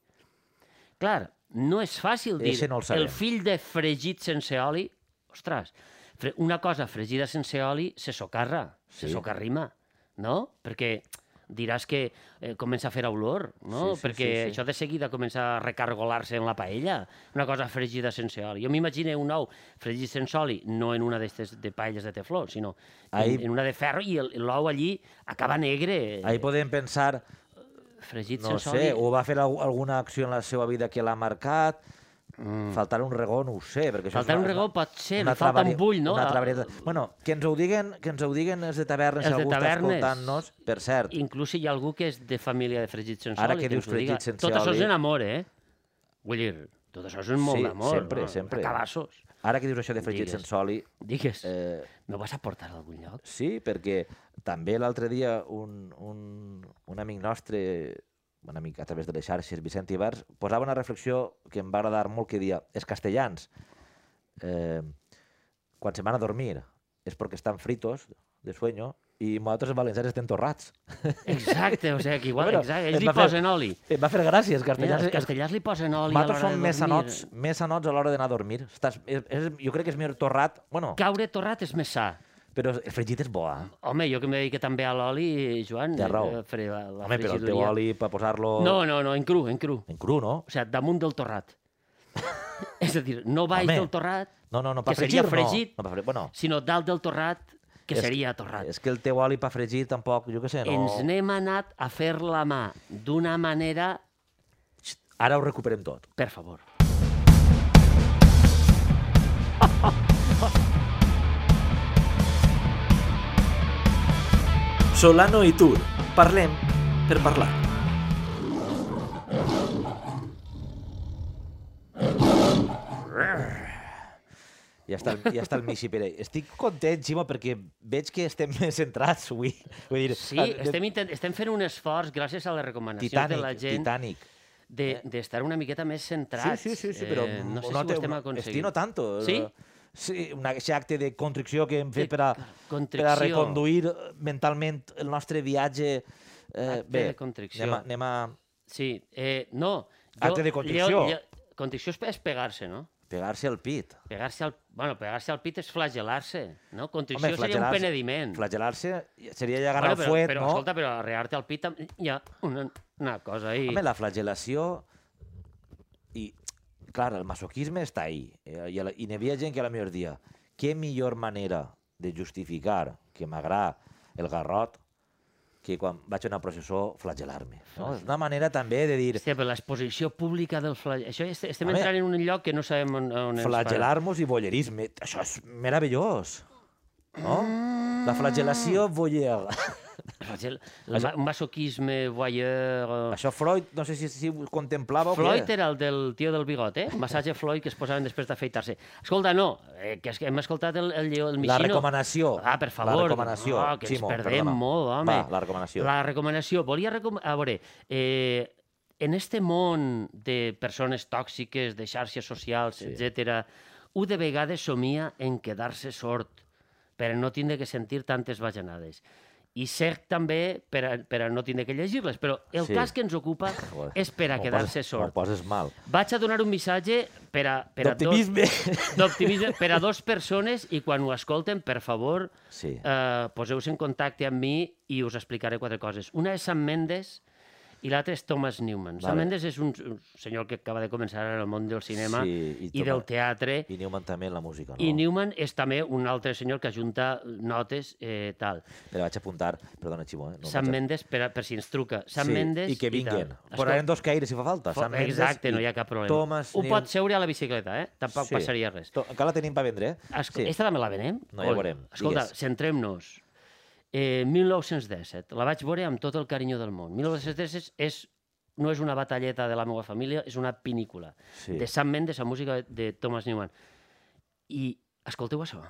Speaker 1: Clar, no és fàcil dir
Speaker 2: Eixe no el sabem.
Speaker 1: el fill de fregit sense oli... Ostres, fre una cosa fregida sense oli se socarra, sí.
Speaker 2: Sí.
Speaker 1: se socarrima, no? Perquè diràs que eh, comença a fer olor, no?
Speaker 2: Sí, sí,
Speaker 1: Perquè
Speaker 2: sí, sí.
Speaker 1: això de seguida comença a recargolar-se en la paella. Una cosa fregida sense oli. Jo m'imagino un ou fregit sense oli, no en una d'aquestes de paelles de tefló, sinó
Speaker 2: Ahí-
Speaker 1: en, en una de ferro i el- l'ou allí acaba negre,
Speaker 2: Ahí podem pensar,
Speaker 1: fregit
Speaker 2: no
Speaker 1: sense
Speaker 2: sé,
Speaker 1: oli.
Speaker 2: o va fer al- alguna acció en la seva vida que l'ha marcat, mm. faltar un regó, no ho sé. Perquè això és
Speaker 1: Faltar
Speaker 2: una-
Speaker 1: un regó pot ser, li
Speaker 2: una
Speaker 1: falta un
Speaker 2: travari-
Speaker 1: bull, no?
Speaker 2: Una
Speaker 1: A-
Speaker 2: travareta. Bueno, que ens ho diguen, que ens ho diguen els de
Speaker 1: Els
Speaker 2: tavernes, si
Speaker 1: de
Speaker 2: algú està
Speaker 1: tavernes.
Speaker 2: escoltant-nos. Per cert,
Speaker 1: Inclús si hi ha algú que és de família de fregit sense
Speaker 2: Ara
Speaker 1: oli.
Speaker 2: que
Speaker 1: ens
Speaker 2: dius
Speaker 1: ho diga.
Speaker 2: fregit sense
Speaker 1: Tot això
Speaker 2: oli-
Speaker 1: és en amor, eh? Vull dir, Tot això és molt
Speaker 2: sí,
Speaker 1: d'amor,
Speaker 2: sempre,
Speaker 1: no?
Speaker 2: sempre.
Speaker 1: Cabassos.
Speaker 2: Ara que dius això de fregit
Speaker 1: Digues.
Speaker 2: sense oli,
Speaker 1: Digues, eh...
Speaker 2: eh,
Speaker 1: no vas a portar a algun lloc?
Speaker 2: Sí, perquè també l'altre dia un, un, un amic nostre, un amic a través de les xarxes, Vicent Ibars, posava una reflexió que em va agradar molt, que dia, els castellans, eh, quan se van a dormir és perquè estan fritos de sueño i nosaltres els valencians estem torrats.
Speaker 1: Exacte, o sigui, que igual,
Speaker 2: Bueno,
Speaker 1: exacte,
Speaker 2: em
Speaker 1: ells
Speaker 2: va
Speaker 1: li
Speaker 2: fer-
Speaker 1: posen oli.
Speaker 2: Em va fer gràcies, els
Speaker 1: Mira,
Speaker 2: castellans.
Speaker 1: els castellans li posen oli a l'hora
Speaker 2: Nosaltres
Speaker 1: de
Speaker 2: som
Speaker 1: dormir.
Speaker 2: més sanots, més sanots a l'hora d'anar a dormir. Estàs, és, és, jo crec que és millor torrat, bueno,
Speaker 1: Caure torrat és més sa.
Speaker 2: però el fregit és bo, eh?
Speaker 1: Home, jo que em dedico també a l'oli, Joan...
Speaker 2: Té raó.
Speaker 1: eh, Faré la, la
Speaker 2: Home, però el teu
Speaker 1: frigidoria.
Speaker 2: oli per posar-lo
Speaker 1: No, no, no, en cru, en cru.
Speaker 2: en cru, no?
Speaker 1: O sigui, damunt del torrat. és a dir, no baix
Speaker 2: Home.
Speaker 1: del torrat,
Speaker 2: No, no, no,
Speaker 1: que
Speaker 2: per
Speaker 1: seria
Speaker 2: fregir,
Speaker 1: fregit,
Speaker 2: no. no per fregir, bueno,
Speaker 1: sinó dalt del torrat, que
Speaker 2: És-
Speaker 1: seria torrat.
Speaker 2: és que el teu oli per fregir tampoc, jo què sé, no...
Speaker 1: Ens n'hem anat a fer la mà d'una manera...
Speaker 2: Ara ho recuperem tot.
Speaker 1: Per favor.
Speaker 3: Solano i Tur. Parlem per parlar.
Speaker 2: Ja està, el- ja està el Michi Pere. Estic content, Ximo, perquè veig que estem més centrats avui. Vull dir,
Speaker 1: Sí, estem, intent... estem fent un esforç gràcies a les recomanacions
Speaker 2: Titanic,
Speaker 1: de la gent
Speaker 2: Titanic. eh?
Speaker 1: de- d'estar una miqueta més centrats.
Speaker 2: Sí, sí, sí, sí, però...
Speaker 1: Eh, no sé
Speaker 2: noto-
Speaker 1: si ho estem aconseguint.
Speaker 2: Estimo tanto. eh,
Speaker 1: Sí?
Speaker 2: Sí, un acte de contricció que hem fet
Speaker 1: De
Speaker 2: per a, per a
Speaker 1: contricció.
Speaker 2: reconduir mentalment el nostre viatge. Eh,
Speaker 1: Acte
Speaker 2: bé,
Speaker 1: de contricció.
Speaker 2: anem a, anem a
Speaker 1: Sí, eh, no.
Speaker 2: Acte de contrició.
Speaker 1: contricció és, és pegar-se, no?
Speaker 2: pegar-se al pit.
Speaker 1: Pegar-se al, bueno, pegar-se al pit és flagelar-se, no? Contrició Home, seria un
Speaker 2: flagelar-se-
Speaker 1: penediment.
Speaker 2: Flagelar-se seria ja agarrar
Speaker 1: Bueno, però,
Speaker 2: bueno, el fuet,
Speaker 1: però,
Speaker 2: no?
Speaker 1: Escolta, però arrear-te al pit tam- hi ha una, una cosa ahí.
Speaker 2: Home, la flagel·lació... I, clar, el masoquisme està ahí. eh, I, a la- i n'hi havia gent que a la millor dia què millor manera de justificar que m'agrada el garrot que quan vaig a una processó flagelar-me. No? És una manera també de dir
Speaker 1: Hòstia, però l'exposició pública del flagel... Això és, estem
Speaker 2: Home.
Speaker 1: entrant en un lloc que no sabem on, on ens
Speaker 2: flagelar-nos i bollerisme. Això és meravellós. No? La flagel·lació voyeur.
Speaker 1: para. Flagel... El ma- un masoquisme voyeur...
Speaker 2: Això Freud, no sé si, si ho contemplava o
Speaker 1: Floyd
Speaker 2: què.
Speaker 1: era el del tio del bigot, eh? Massatge Floyd que es posaven després d'afeitar-se. Escolta, no, eh, que és que hem escoltat el, el, el Michino.
Speaker 2: La recomanació.
Speaker 1: Ah, per favor.
Speaker 2: La recomanació.
Speaker 1: No, que
Speaker 2: Ximo,
Speaker 1: ens perdem
Speaker 2: perdona.
Speaker 1: molt, home.
Speaker 2: Va, la recomanació.
Speaker 1: La recomanació. Volia recom... A veure, eh, en este món de persones tòxiques, de xarxes socials, sí. etc, un de vegades somia en quedar-se sort per a no tindre que sentir tantes bajanades. I cert també per a, per a no tindre que llegir-les, però el
Speaker 2: Sí.
Speaker 1: sí. cas que ens ocupa
Speaker 2: Joder,
Speaker 1: és per a
Speaker 2: m'ho
Speaker 1: quedar-se
Speaker 2: poses-
Speaker 1: sort.
Speaker 2: M'ho poses mal.
Speaker 1: Vaig a donar un missatge per a... Per a dos-
Speaker 2: D'optimisme.
Speaker 1: d'optimisme per a dues persones i quan ho escolten, per favor,
Speaker 2: Sí.
Speaker 1: eh, poseu-se en contacte amb mi i us explicaré quatre coses. Una és Sam Mendes i l'altra és Thomas Newman. Sam
Speaker 2: Vale.
Speaker 1: Mendes és un, un senyor que acaba de començar ara en el món del cinema
Speaker 2: Sí, i
Speaker 1: i, i del
Speaker 2: Thomas-
Speaker 1: teatre.
Speaker 2: I Newman també en la música, no?
Speaker 1: I Newman és també un altre senyor que ajunta notes, eh, tal.
Speaker 2: Me la vaig apuntar, perdona, Ximo, eh? No
Speaker 1: Sam
Speaker 2: vaig a-
Speaker 1: Mendes, per, a, per si ens truca. Sam Mendes
Speaker 2: I que
Speaker 1: tal.
Speaker 2: vinguin.
Speaker 1: Escolta,
Speaker 2: Posarem dos caires si fa falta.
Speaker 1: fo-
Speaker 2: Sam Mendes
Speaker 1: Exacte, no
Speaker 2: i
Speaker 1: hi ha cap problema.
Speaker 2: Thomas
Speaker 1: Ho
Speaker 2: Newman.
Speaker 1: pot seure a la bicicleta, eh? Tampoc
Speaker 2: Sí.
Speaker 1: passaria res.
Speaker 2: To- Encara la tenim per vendre, eh?
Speaker 1: Esco... Sí. Esta també la venem?
Speaker 2: No, ja
Speaker 1: Coi,
Speaker 2: veurem.
Speaker 1: Escolta,
Speaker 2: Digues.
Speaker 1: centrem-nos. Eh, 1917. La vaig veure amb tot el carinyo del món. 1917 és, no és una batalleta de la meva família, és una pinícula.
Speaker 2: Sí.
Speaker 1: De Sam Mendes, amb música de Thomas Newman. I escolteu això.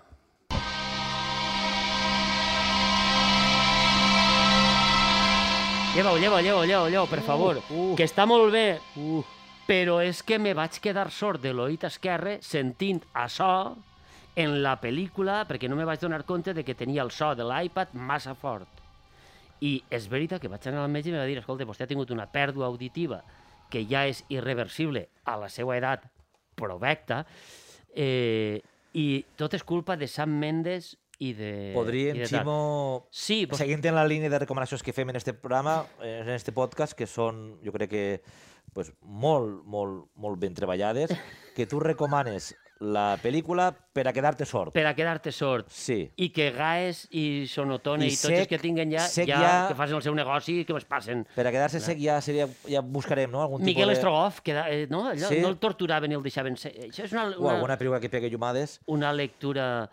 Speaker 1: Lleva-ho, lleva-ho, lleva-ho, lleva lleva per favor.
Speaker 2: uh.
Speaker 1: Que està molt bé. Uh. Però és que me vaig quedar sort de l'oït esquerre sentint això en la pel·lícula perquè no me vaig donar compte de que tenia el so de l'iPad massa fort. I és veritat que vaig anar al metge i em va dir escolta, vostè ha tingut una pèrdua auditiva que ja és irreversible a la seva edat provecta eh, i tot és culpa de Sam Mendes i de... i
Speaker 2: Podríem,
Speaker 1: de tal."
Speaker 2: Ximo...
Speaker 1: Sí, pues,
Speaker 2: Seguint en la línia de recomanacions que fem en este programa, eh, en este podcast, que són, jo crec que pues, molt, molt, molt ben treballades, que tu recomanes la pel·lícula per a quedar-te sort.
Speaker 1: per a quedar-te sort.
Speaker 2: Sí.
Speaker 1: I que Gaes i Sonotone
Speaker 2: I
Speaker 1: i, i tots
Speaker 2: sec-
Speaker 1: els que tinguen ja,
Speaker 2: sec
Speaker 1: ja,
Speaker 2: ja-
Speaker 1: que facin el seu negoci i que es passen.
Speaker 2: Per a quedar-se sec ja, seria, ja buscarem, no? Algun
Speaker 1: Miquel
Speaker 2: tipus de...
Speaker 1: Estrogoff, que da- eh, no? Allò,
Speaker 2: Sí.
Speaker 1: sí. no el torturaven i el deixaven ser. Això és una,
Speaker 2: O
Speaker 1: una,
Speaker 2: alguna pel·lícula que pegue llumades.
Speaker 1: una lectura...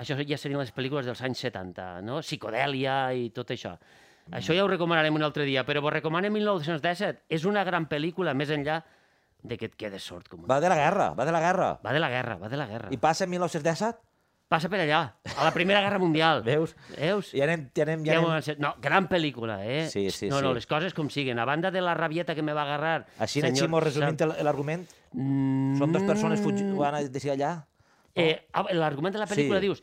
Speaker 1: Això ja serien les pel·lícules dels anys 70, no? Psicodèlia i tot això. Això ja ho recomanarem un altre dia, però vos recomano 1917. És una gran pel·lícula, més enllà de que et quedes sort com un...
Speaker 2: Va de la guerra, va de la guerra.
Speaker 1: Va de la guerra, va de la guerra.
Speaker 2: I passa en 1917?
Speaker 1: Passa per allà, a la Primera Guerra Mundial.
Speaker 2: Veus?
Speaker 1: Veus?
Speaker 2: Ja anem, ja anem,
Speaker 1: Ja
Speaker 2: ja
Speaker 1: ho
Speaker 2: anem.
Speaker 1: van ser- No, gran pel·lícula, eh?
Speaker 2: Sí, sí,
Speaker 1: no,
Speaker 2: sí.
Speaker 1: no, les coses com siguen. A banda de la rabieta que me va agarrar...
Speaker 2: Així, senyor, Ximo, resumint el- l'argument,
Speaker 1: Mm,
Speaker 2: són dos persones fugi... van a decidir allà.
Speaker 1: Eh, ah, L'argument de la pel·lícula
Speaker 2: Sí.
Speaker 1: dius...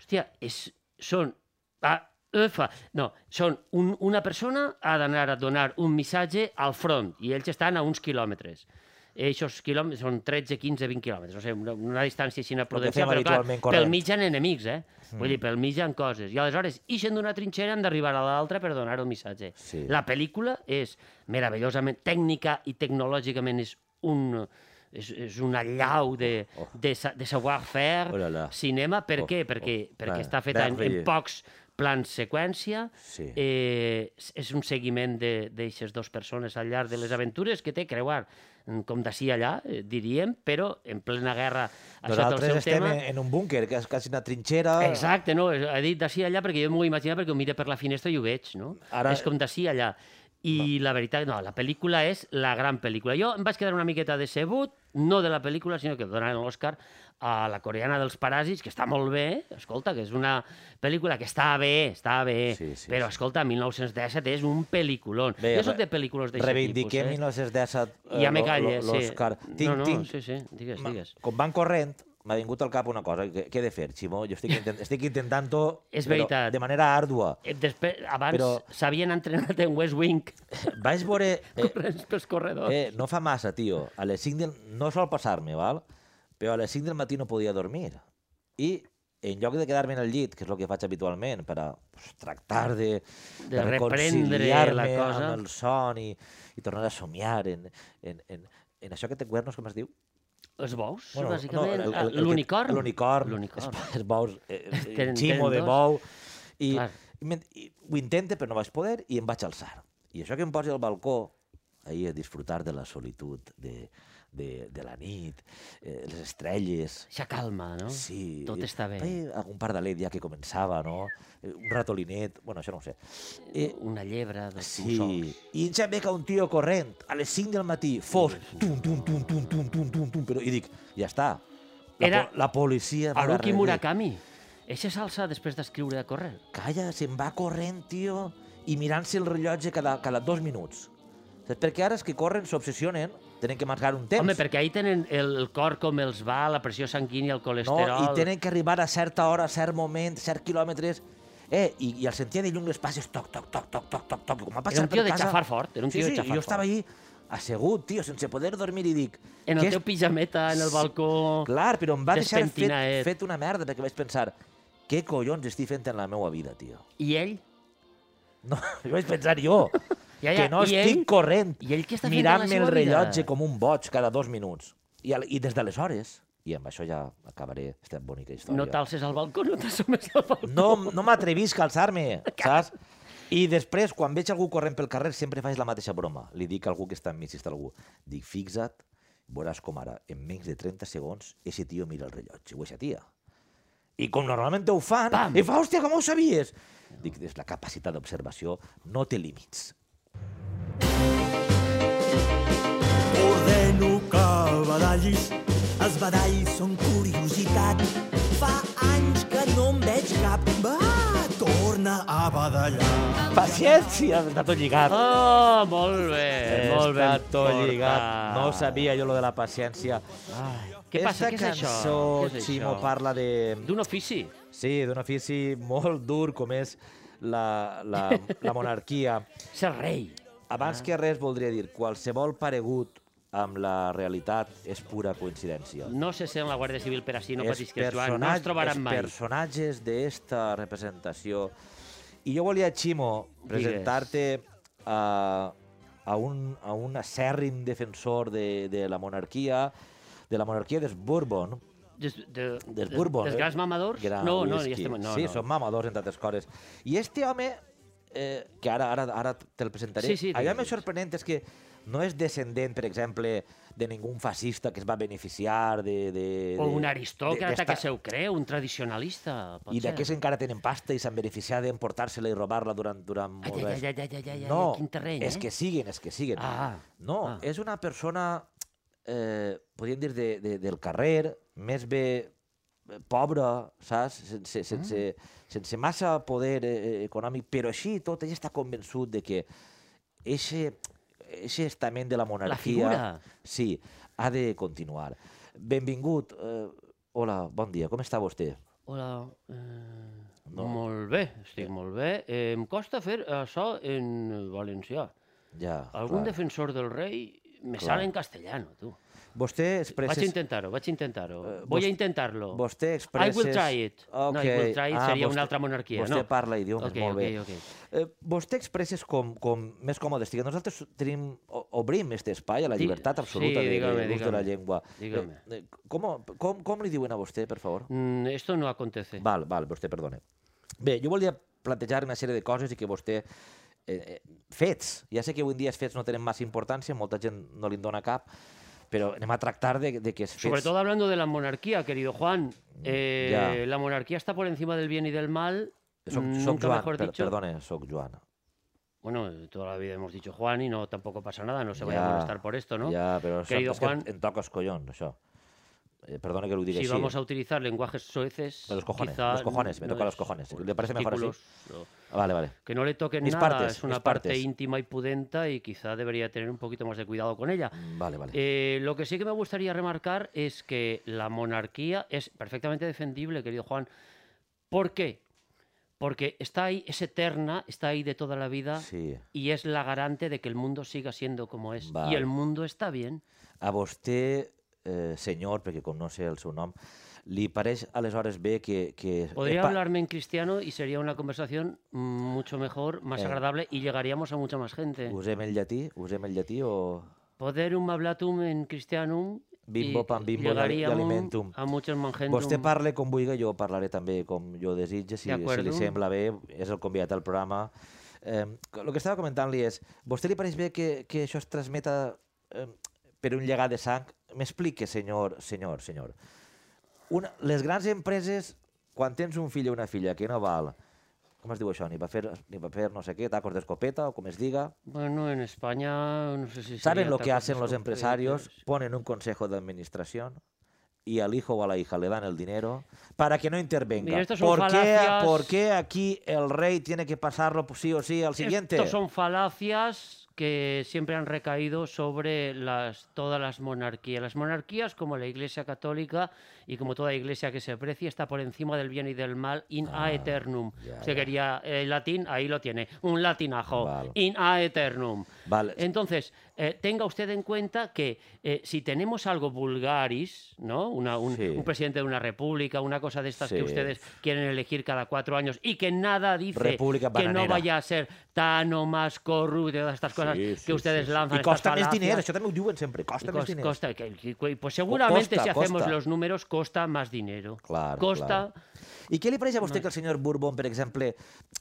Speaker 1: Hòstia, és, són... Ah, ufa, no, són un, una persona ha d'anar a donar un missatge al front i ells estan a uns quilòmetres. Eh, Eixos quilòmetres són 13, 15, 20 quilòmetres, no sé, una, una distància així prudencial,
Speaker 2: fem
Speaker 1: però clar,
Speaker 2: habitualment
Speaker 1: pel
Speaker 2: corrent.
Speaker 1: mig hi ha enemics, eh? Mm. Vull dir, pel mig hi ha coses. I aleshores, ixen d'una trinxera, han d'arribar a l'altra per donar el missatge.
Speaker 2: Sí.
Speaker 1: La pel·lícula és meravellosament tècnica i tecnològicament és un és, és una llau de, oh. de, sa- de savoir-faire,
Speaker 2: Oh là là.
Speaker 1: cinema, per
Speaker 2: Oh,
Speaker 1: què?
Speaker 2: oh,
Speaker 1: Perquè, perquè
Speaker 2: clar,
Speaker 1: està feta en, en
Speaker 2: merveilleux.
Speaker 1: pocs plans seqüència,
Speaker 2: Sí.
Speaker 1: eh, és- és un seguiment de- d'eixes dues persones al llarg de les aventures que té creuar, mm, com d'ací a allà, eh, diríem, però en plena guerra a sota el
Speaker 2: Nosaltres
Speaker 1: seu
Speaker 2: estem
Speaker 1: tema...
Speaker 2: en, en un búnquer, que és quasi una trinxera.
Speaker 1: Exacte, no, he dit d'ací a allà perquè jo m'ho imagino perquè ho mire per la finestra i ho veig, no?
Speaker 2: Ara-
Speaker 1: Ara... És com d'ací a allà. I la veritat, no, la pel·lícula és la gran pel·lícula. Jo em vaig quedar una miqueta decebut, no de la pel·lícula, sinó que donaran l'Oscar a la coreana dels paràsits, que està molt bé, eh? escolta, que és una pel·lícula que està bé, està bé,
Speaker 2: Sí, sí,
Speaker 1: però
Speaker 2: sí.
Speaker 1: escolta, 1917 és un pel·liculón.
Speaker 2: Bé,
Speaker 1: jo soc
Speaker 2: re-
Speaker 1: de pel·lícules d'aquest tipus,
Speaker 2: Reivindiquem
Speaker 1: eh?
Speaker 2: 1917 eh,
Speaker 1: Ja me
Speaker 2: lo-
Speaker 1: calle,
Speaker 2: lo-
Speaker 1: sí.
Speaker 2: l'Òscar. Tinc,
Speaker 1: no, no,
Speaker 2: tinc,
Speaker 1: sí, sí, digues,
Speaker 2: Ma-
Speaker 1: digues.
Speaker 2: Com van corrent, m'ha vingut al cap una cosa. Què, què he de fer, Ximo? Jo estic, intent, estic intentant-ho
Speaker 1: És
Speaker 2: però
Speaker 1: veritat.
Speaker 2: de manera àrdua.
Speaker 1: Eh, Després, abans
Speaker 2: Però-
Speaker 1: s'havien entrenat en West Wing,
Speaker 2: Vaig veure... Eh,
Speaker 1: corrents pels corredors.
Speaker 2: eh, no fa massa, tio. A les 5 del... No sol passar-me, val? Però a les 5 del matí no podia dormir. I en lloc de quedar-me en el llit, que és el que faig habitualment, per a pues, tractar de,
Speaker 1: De reprendre
Speaker 2: reconciliar-me
Speaker 1: la cosa.
Speaker 2: amb el son i, i tornar a somiar en, en, en, en això que té cuernos, com es diu?
Speaker 1: Els bous,
Speaker 2: Bueno,
Speaker 1: bueno, bàsicament. Ah,
Speaker 2: el- el- el que-
Speaker 1: L'unicorn.
Speaker 2: L'unicorn.
Speaker 1: L'unicorn.
Speaker 2: Els, els bous, eh,
Speaker 1: Tenen-
Speaker 2: el
Speaker 1: tenen
Speaker 2: ximo de
Speaker 1: dos.
Speaker 2: bou. I,
Speaker 1: Clar.
Speaker 2: i, men- i ho intente, però no vaig poder, i em vaig alçar. I això que em posi al balcó, ahir a disfrutar de la solitud, de, de, de la nit, eh, les estrelles...
Speaker 1: S'acalma, no?
Speaker 2: Sí.
Speaker 1: Tot està bé.
Speaker 2: Eh, algun pardalet ja que començava, no? Eh, Un ratolinet... Bueno, això no ho sé. Eh,
Speaker 1: Una llebre dels
Speaker 2: Sí. I em sembla que un tio corrent a les 5 del matí, fosc, tum, tum, tum, tum, tum, tum, tum, tum, però, i dic, ja està. La,
Speaker 1: Era
Speaker 2: po- la policia... va
Speaker 1: Haruki
Speaker 2: darrere.
Speaker 1: Murakami. Eixa salsa després d'escriure a córrer.
Speaker 2: Calla, se'n va corrent, tio, i mirant-se el rellotge cada, cada dos minuts. Saps? Perquè ara els que corren s'obsessionen, tenen que marcar un temps.
Speaker 1: Home, perquè ahir tenen el, el cor com els va, la pressió sanguínia, el
Speaker 2: no?
Speaker 1: colesterol...
Speaker 2: I tenen que arribar a certa hora, a cert moment, cert quilòmetres... Eh, i, i al sentir de llum les passes, toc, toc, toc, toc, toc, toc, toc, com ha passat
Speaker 1: Era un tio
Speaker 2: per
Speaker 1: de
Speaker 2: casa.
Speaker 1: xafar fort, era un
Speaker 2: sí,
Speaker 1: tio de
Speaker 2: sí,
Speaker 1: xafar
Speaker 2: jo estava
Speaker 1: fort.
Speaker 2: allí assegut, tio, sense poder dormir, i dic...
Speaker 1: En el
Speaker 2: "Què és-
Speaker 1: teu pijameta, en el balcó...
Speaker 2: Clar, però em va deixar fet,
Speaker 1: Despentinaet.
Speaker 2: fet una merda, perquè vaig pensar, què collons estic fent en la meva vida, tio?
Speaker 1: I ell?
Speaker 2: No, jo vaig pensar jo,
Speaker 1: Ja, ja,
Speaker 2: que no
Speaker 1: i
Speaker 2: estic
Speaker 1: ell?
Speaker 2: corrent,
Speaker 1: I ell què està fent en la
Speaker 2: mirant-me el
Speaker 1: seva vida?
Speaker 2: rellotge com un boig cada dos minuts. I, al- I des d'aleshores, i amb això ja acabaré aquesta bonica història,
Speaker 1: No t'alces al balcó, no t'assomes al balcó.
Speaker 2: no, no m'atrevisc a alçar-me, saps? I després, quan veig algú corrent pel carrer, sempre faig la mateixa broma. Li dic a algú que està enmig, si està algú, dic, fixa't, veuràs com ara, en menys de 30 segons, ese tio mira el rellotge, o eixa tia. I com normalment ho fan,
Speaker 1: Pam!
Speaker 2: i fa, hòstia, com ho sabies? Dic, des la capacitat d'observació no té límits.
Speaker 5: Ordeno que badallis. Els badalls són curiositat. Fa anys que no en veig cap. Va, torna a badallar.
Speaker 2: Paciència, està tot lligat.
Speaker 1: Oh, molt bé, molt bé.
Speaker 2: Està tot
Speaker 1: portat.
Speaker 2: lligat. No ho sabia jo, lo de la paciència. Ai,
Speaker 1: Què passa? Què és
Speaker 2: Esta
Speaker 1: això?
Speaker 2: cançó,
Speaker 1: Què és
Speaker 2: Ximo,
Speaker 1: això?
Speaker 2: parla de...
Speaker 1: D'un ofici.
Speaker 2: Sí, d'un ofici molt dur com és la, la, la monarquia.
Speaker 1: Ser rei. Ah.
Speaker 2: Abans que res voldria dir, qualsevol paregut amb la realitat és pura coincidència.
Speaker 1: No se sent la Guàrdia Civil per així, no
Speaker 2: és
Speaker 1: patis que Joan, no ens trobaran
Speaker 2: és
Speaker 1: mai.
Speaker 2: personatges d'esta representació. I jo volia, Ximo, presentar-te a, a, un, a un acèrrim defensor de, de la monarquia, de la monarquia dels Bourbon,
Speaker 1: Des, de,
Speaker 2: dels Bourbon.
Speaker 1: Dels
Speaker 2: eh?
Speaker 1: grans mamadors?
Speaker 2: Gran
Speaker 1: no, no,
Speaker 2: whisky.
Speaker 1: ja estem... No,
Speaker 2: sí,
Speaker 1: no.
Speaker 2: són mamadors, entre altres coses. I este home, eh, que ara, ara, ara te'l presentaré,
Speaker 1: Sí, sí,
Speaker 2: allò
Speaker 1: digues,
Speaker 2: més
Speaker 1: digues.
Speaker 2: sorprenent és que no és descendent, per exemple, de ningú fascista que es va beneficiar de... de, de
Speaker 1: O un
Speaker 2: de-
Speaker 1: aristòcrata
Speaker 2: d'esta-
Speaker 1: que se ho creu, un tradicionalista, pot
Speaker 2: I
Speaker 1: ser.
Speaker 2: d'aquests encara tenen pasta i s'han beneficiat d'emportar-se-la i robar-la durant, durant
Speaker 1: Ai,
Speaker 2: molts
Speaker 1: ai,
Speaker 2: anys.
Speaker 1: ai, ai, ai, ai, ai,
Speaker 2: no,
Speaker 1: quin terreny,
Speaker 2: és
Speaker 1: eh?
Speaker 2: que siguen, és que siguen.
Speaker 1: Ah,
Speaker 2: no,
Speaker 1: ah.
Speaker 2: és una persona eh, podríem dir, de, de, del carrer, més bé eh, pobre, saps? Sense, sense,
Speaker 1: Mm.
Speaker 2: sense massa poder eh, eh, econòmic, però així i tot ell està convençut de que eixe, eixe estament de la monarquia...
Speaker 1: figura.
Speaker 2: Sí, ha de continuar. Benvingut. Eh, hola, bon dia, com està vostè?
Speaker 1: Hola. Eh, no. Molt bé, estic molt bé. Eh, em costa fer això en valencià.
Speaker 2: Ja,
Speaker 1: Algun
Speaker 2: clar.
Speaker 1: defensor del rei me
Speaker 2: Clar.
Speaker 1: sale en castellano, tu.
Speaker 2: Vostè expressa...
Speaker 1: Vaig a intentar-ho, vaig a intentar-ho.
Speaker 2: Eh,
Speaker 1: Voy a
Speaker 2: vostè-
Speaker 1: intentar-lo.
Speaker 2: vostè
Speaker 1: I will
Speaker 2: expresses-
Speaker 1: try it. No, I will
Speaker 2: Ok.
Speaker 1: try it
Speaker 2: Ah,
Speaker 1: seria
Speaker 2: vostè-
Speaker 1: una altra monarquia,
Speaker 2: vostè
Speaker 1: no?
Speaker 2: parla idiomes,
Speaker 1: Ok,
Speaker 2: molt
Speaker 1: ok,
Speaker 2: bé.
Speaker 1: ok.
Speaker 2: Eh, vostè expresses com, com més còmode estigui. Nosaltres tenim, o- obrim aquest espai a la
Speaker 1: Di-
Speaker 2: llibertat absoluta
Speaker 1: sí,
Speaker 2: de-
Speaker 1: dígame,
Speaker 2: de l'ús de la
Speaker 1: dígame.
Speaker 2: llengua.
Speaker 1: Dígame.
Speaker 2: Eh, eh, com, com, com li diuen a vostè, per favor?
Speaker 1: Mm, esto no acontece.
Speaker 2: Val, val, vostè perdone. Bé, jo volia plantejar una sèrie de coses i que vostè... Eh, eh, fets. Ja sé que avui en dia els fets no tenen massa importància, molta gent no li en dona cap, però anem a tractar de, de que els fets...
Speaker 1: Sobre todo hablando de la monarquía, querido Juan. Eh,
Speaker 2: Ya.
Speaker 1: La monarquía está por encima del bien y del mal.
Speaker 2: Soc,
Speaker 1: mm,
Speaker 2: soc
Speaker 1: nunca
Speaker 2: Joan,
Speaker 1: mejor
Speaker 2: per,
Speaker 1: dicho.
Speaker 2: perdone, soc Joan.
Speaker 1: Bueno, eh, toda la vida hemos dicho Juan y no tampoco pasa nada, no se vaya
Speaker 2: Ya,
Speaker 1: a molestar por esto, ¿no?
Speaker 2: Ya, pero
Speaker 1: Querido
Speaker 2: es que
Speaker 1: Juan,
Speaker 2: en- en toca els collons, això. Eh, perdona que ho digui
Speaker 1: si
Speaker 2: així.
Speaker 1: vamos a utilizar lenguajes soeces.
Speaker 2: De los cojones,
Speaker 1: quizá
Speaker 2: los cojones, me
Speaker 1: no
Speaker 2: toca
Speaker 1: es-
Speaker 2: los cojones.
Speaker 1: o
Speaker 2: ¿Le parece mejor así?
Speaker 1: testículos, o-
Speaker 2: Ah, Vale, vale.
Speaker 1: Que no le toquen
Speaker 2: Mis
Speaker 1: nada,
Speaker 2: partes,
Speaker 1: es una
Speaker 2: mis
Speaker 1: parte
Speaker 2: partes.
Speaker 1: íntima y pudenta y quizá debería tener un poquito más de cuidado con ella.
Speaker 2: Vale, vale.
Speaker 1: Eh, lo que sí que me gustaría remarcar es que la monarquía es perfectamente defendible, querido Juan. ¿Por qué? Porque está ahí, es eterna, está ahí de toda la vida
Speaker 2: Sí.
Speaker 1: y es la garante de que el mundo siga siendo como es.
Speaker 2: Vale.
Speaker 1: Y el mundo está bien.
Speaker 2: A vostè, eh, senyor, perquè com no sé el seu nom, li pareix aleshores bé que... que
Speaker 1: Podría
Speaker 2: Epa,
Speaker 1: hablarme en cristiano y sería una conversación mm, mucho mejor, más
Speaker 2: Eh.
Speaker 1: agradable y llegaríamos a mucha más gente.
Speaker 2: Usem el llatí? Usem el llatí o...
Speaker 1: Poderum hablatum en cristianum
Speaker 2: Bimbo,
Speaker 1: y
Speaker 2: pan, bimbo,
Speaker 1: llegaríamos
Speaker 2: y alimentum.
Speaker 1: a muchos más gente.
Speaker 2: Vostè parle com vulgui, jo parlaré també com jo desitge, si, si
Speaker 1: D'acuerdo.
Speaker 2: li sembla bé, és el convidat al programa. Eh, el que estava comentant-li és, vostè li pareix bé que, que això es transmeta eh, per un llegat de sang? M'explique, senyor, senyor, senyor. Una, les grans empreses, quan tens un fill o una filla que no val, com es diu això, ni va fer, ni va fer no sé què, tacos d'escopeta o com es diga,
Speaker 1: Bueno, en España no sé si...
Speaker 2: ¿Saben
Speaker 1: sería
Speaker 2: lo que
Speaker 1: tacos
Speaker 2: hacen los
Speaker 1: escopetas.
Speaker 2: empresarios? Ponen un consejo de administración y al hijo o a la hija le dan el dinero para que no intervenga.
Speaker 1: Mira, estas son
Speaker 2: ¿Por, qué,
Speaker 1: falacias.
Speaker 2: por qué aquí el rey tiene que pasarlo sí o sí al siguiente?
Speaker 1: Estos son falacias que siempre han recaído sobre las, todas las monarquías. Las monarquías, como la Iglesia Católica y como toda iglesia que se aprecie, está por encima del bien y del mal in a eternum.
Speaker 2: Ah, ya,
Speaker 1: Usted
Speaker 2: ya.
Speaker 1: quería eh, latín, ahí lo tiene. Un latinajo.
Speaker 2: Vale.
Speaker 1: In a eternum.
Speaker 2: Vale.
Speaker 1: Entonces, eh, tenga usted en cuenta que eh, si tenemos algo vulgaris, ¿no? Una- un,
Speaker 2: Sí.
Speaker 1: un presidente de una república, una cosa de estas
Speaker 2: Sí.
Speaker 1: que ustedes quieren elegir cada cuatro años y que nada dice
Speaker 2: República
Speaker 1: que no
Speaker 2: bananera.
Speaker 1: vaya a ser tan o más corrupto y todas estas cosas
Speaker 2: Sí,
Speaker 1: que
Speaker 2: sí,
Speaker 1: ustedes
Speaker 2: sí, sí.
Speaker 1: lanzan.
Speaker 2: I costa més
Speaker 1: estas
Speaker 2: diners,
Speaker 1: falacias.
Speaker 2: això també ho diuen sempre, costa
Speaker 1: Cos-
Speaker 2: més diners.
Speaker 1: costa- que- que- pues seguramente
Speaker 2: costa,
Speaker 1: si hacemos
Speaker 2: costa.
Speaker 1: los números costa más dinero.
Speaker 2: Clar,
Speaker 1: costa
Speaker 2: clar. I què li pareix a vostè que el senyor Bourbon, per exemple,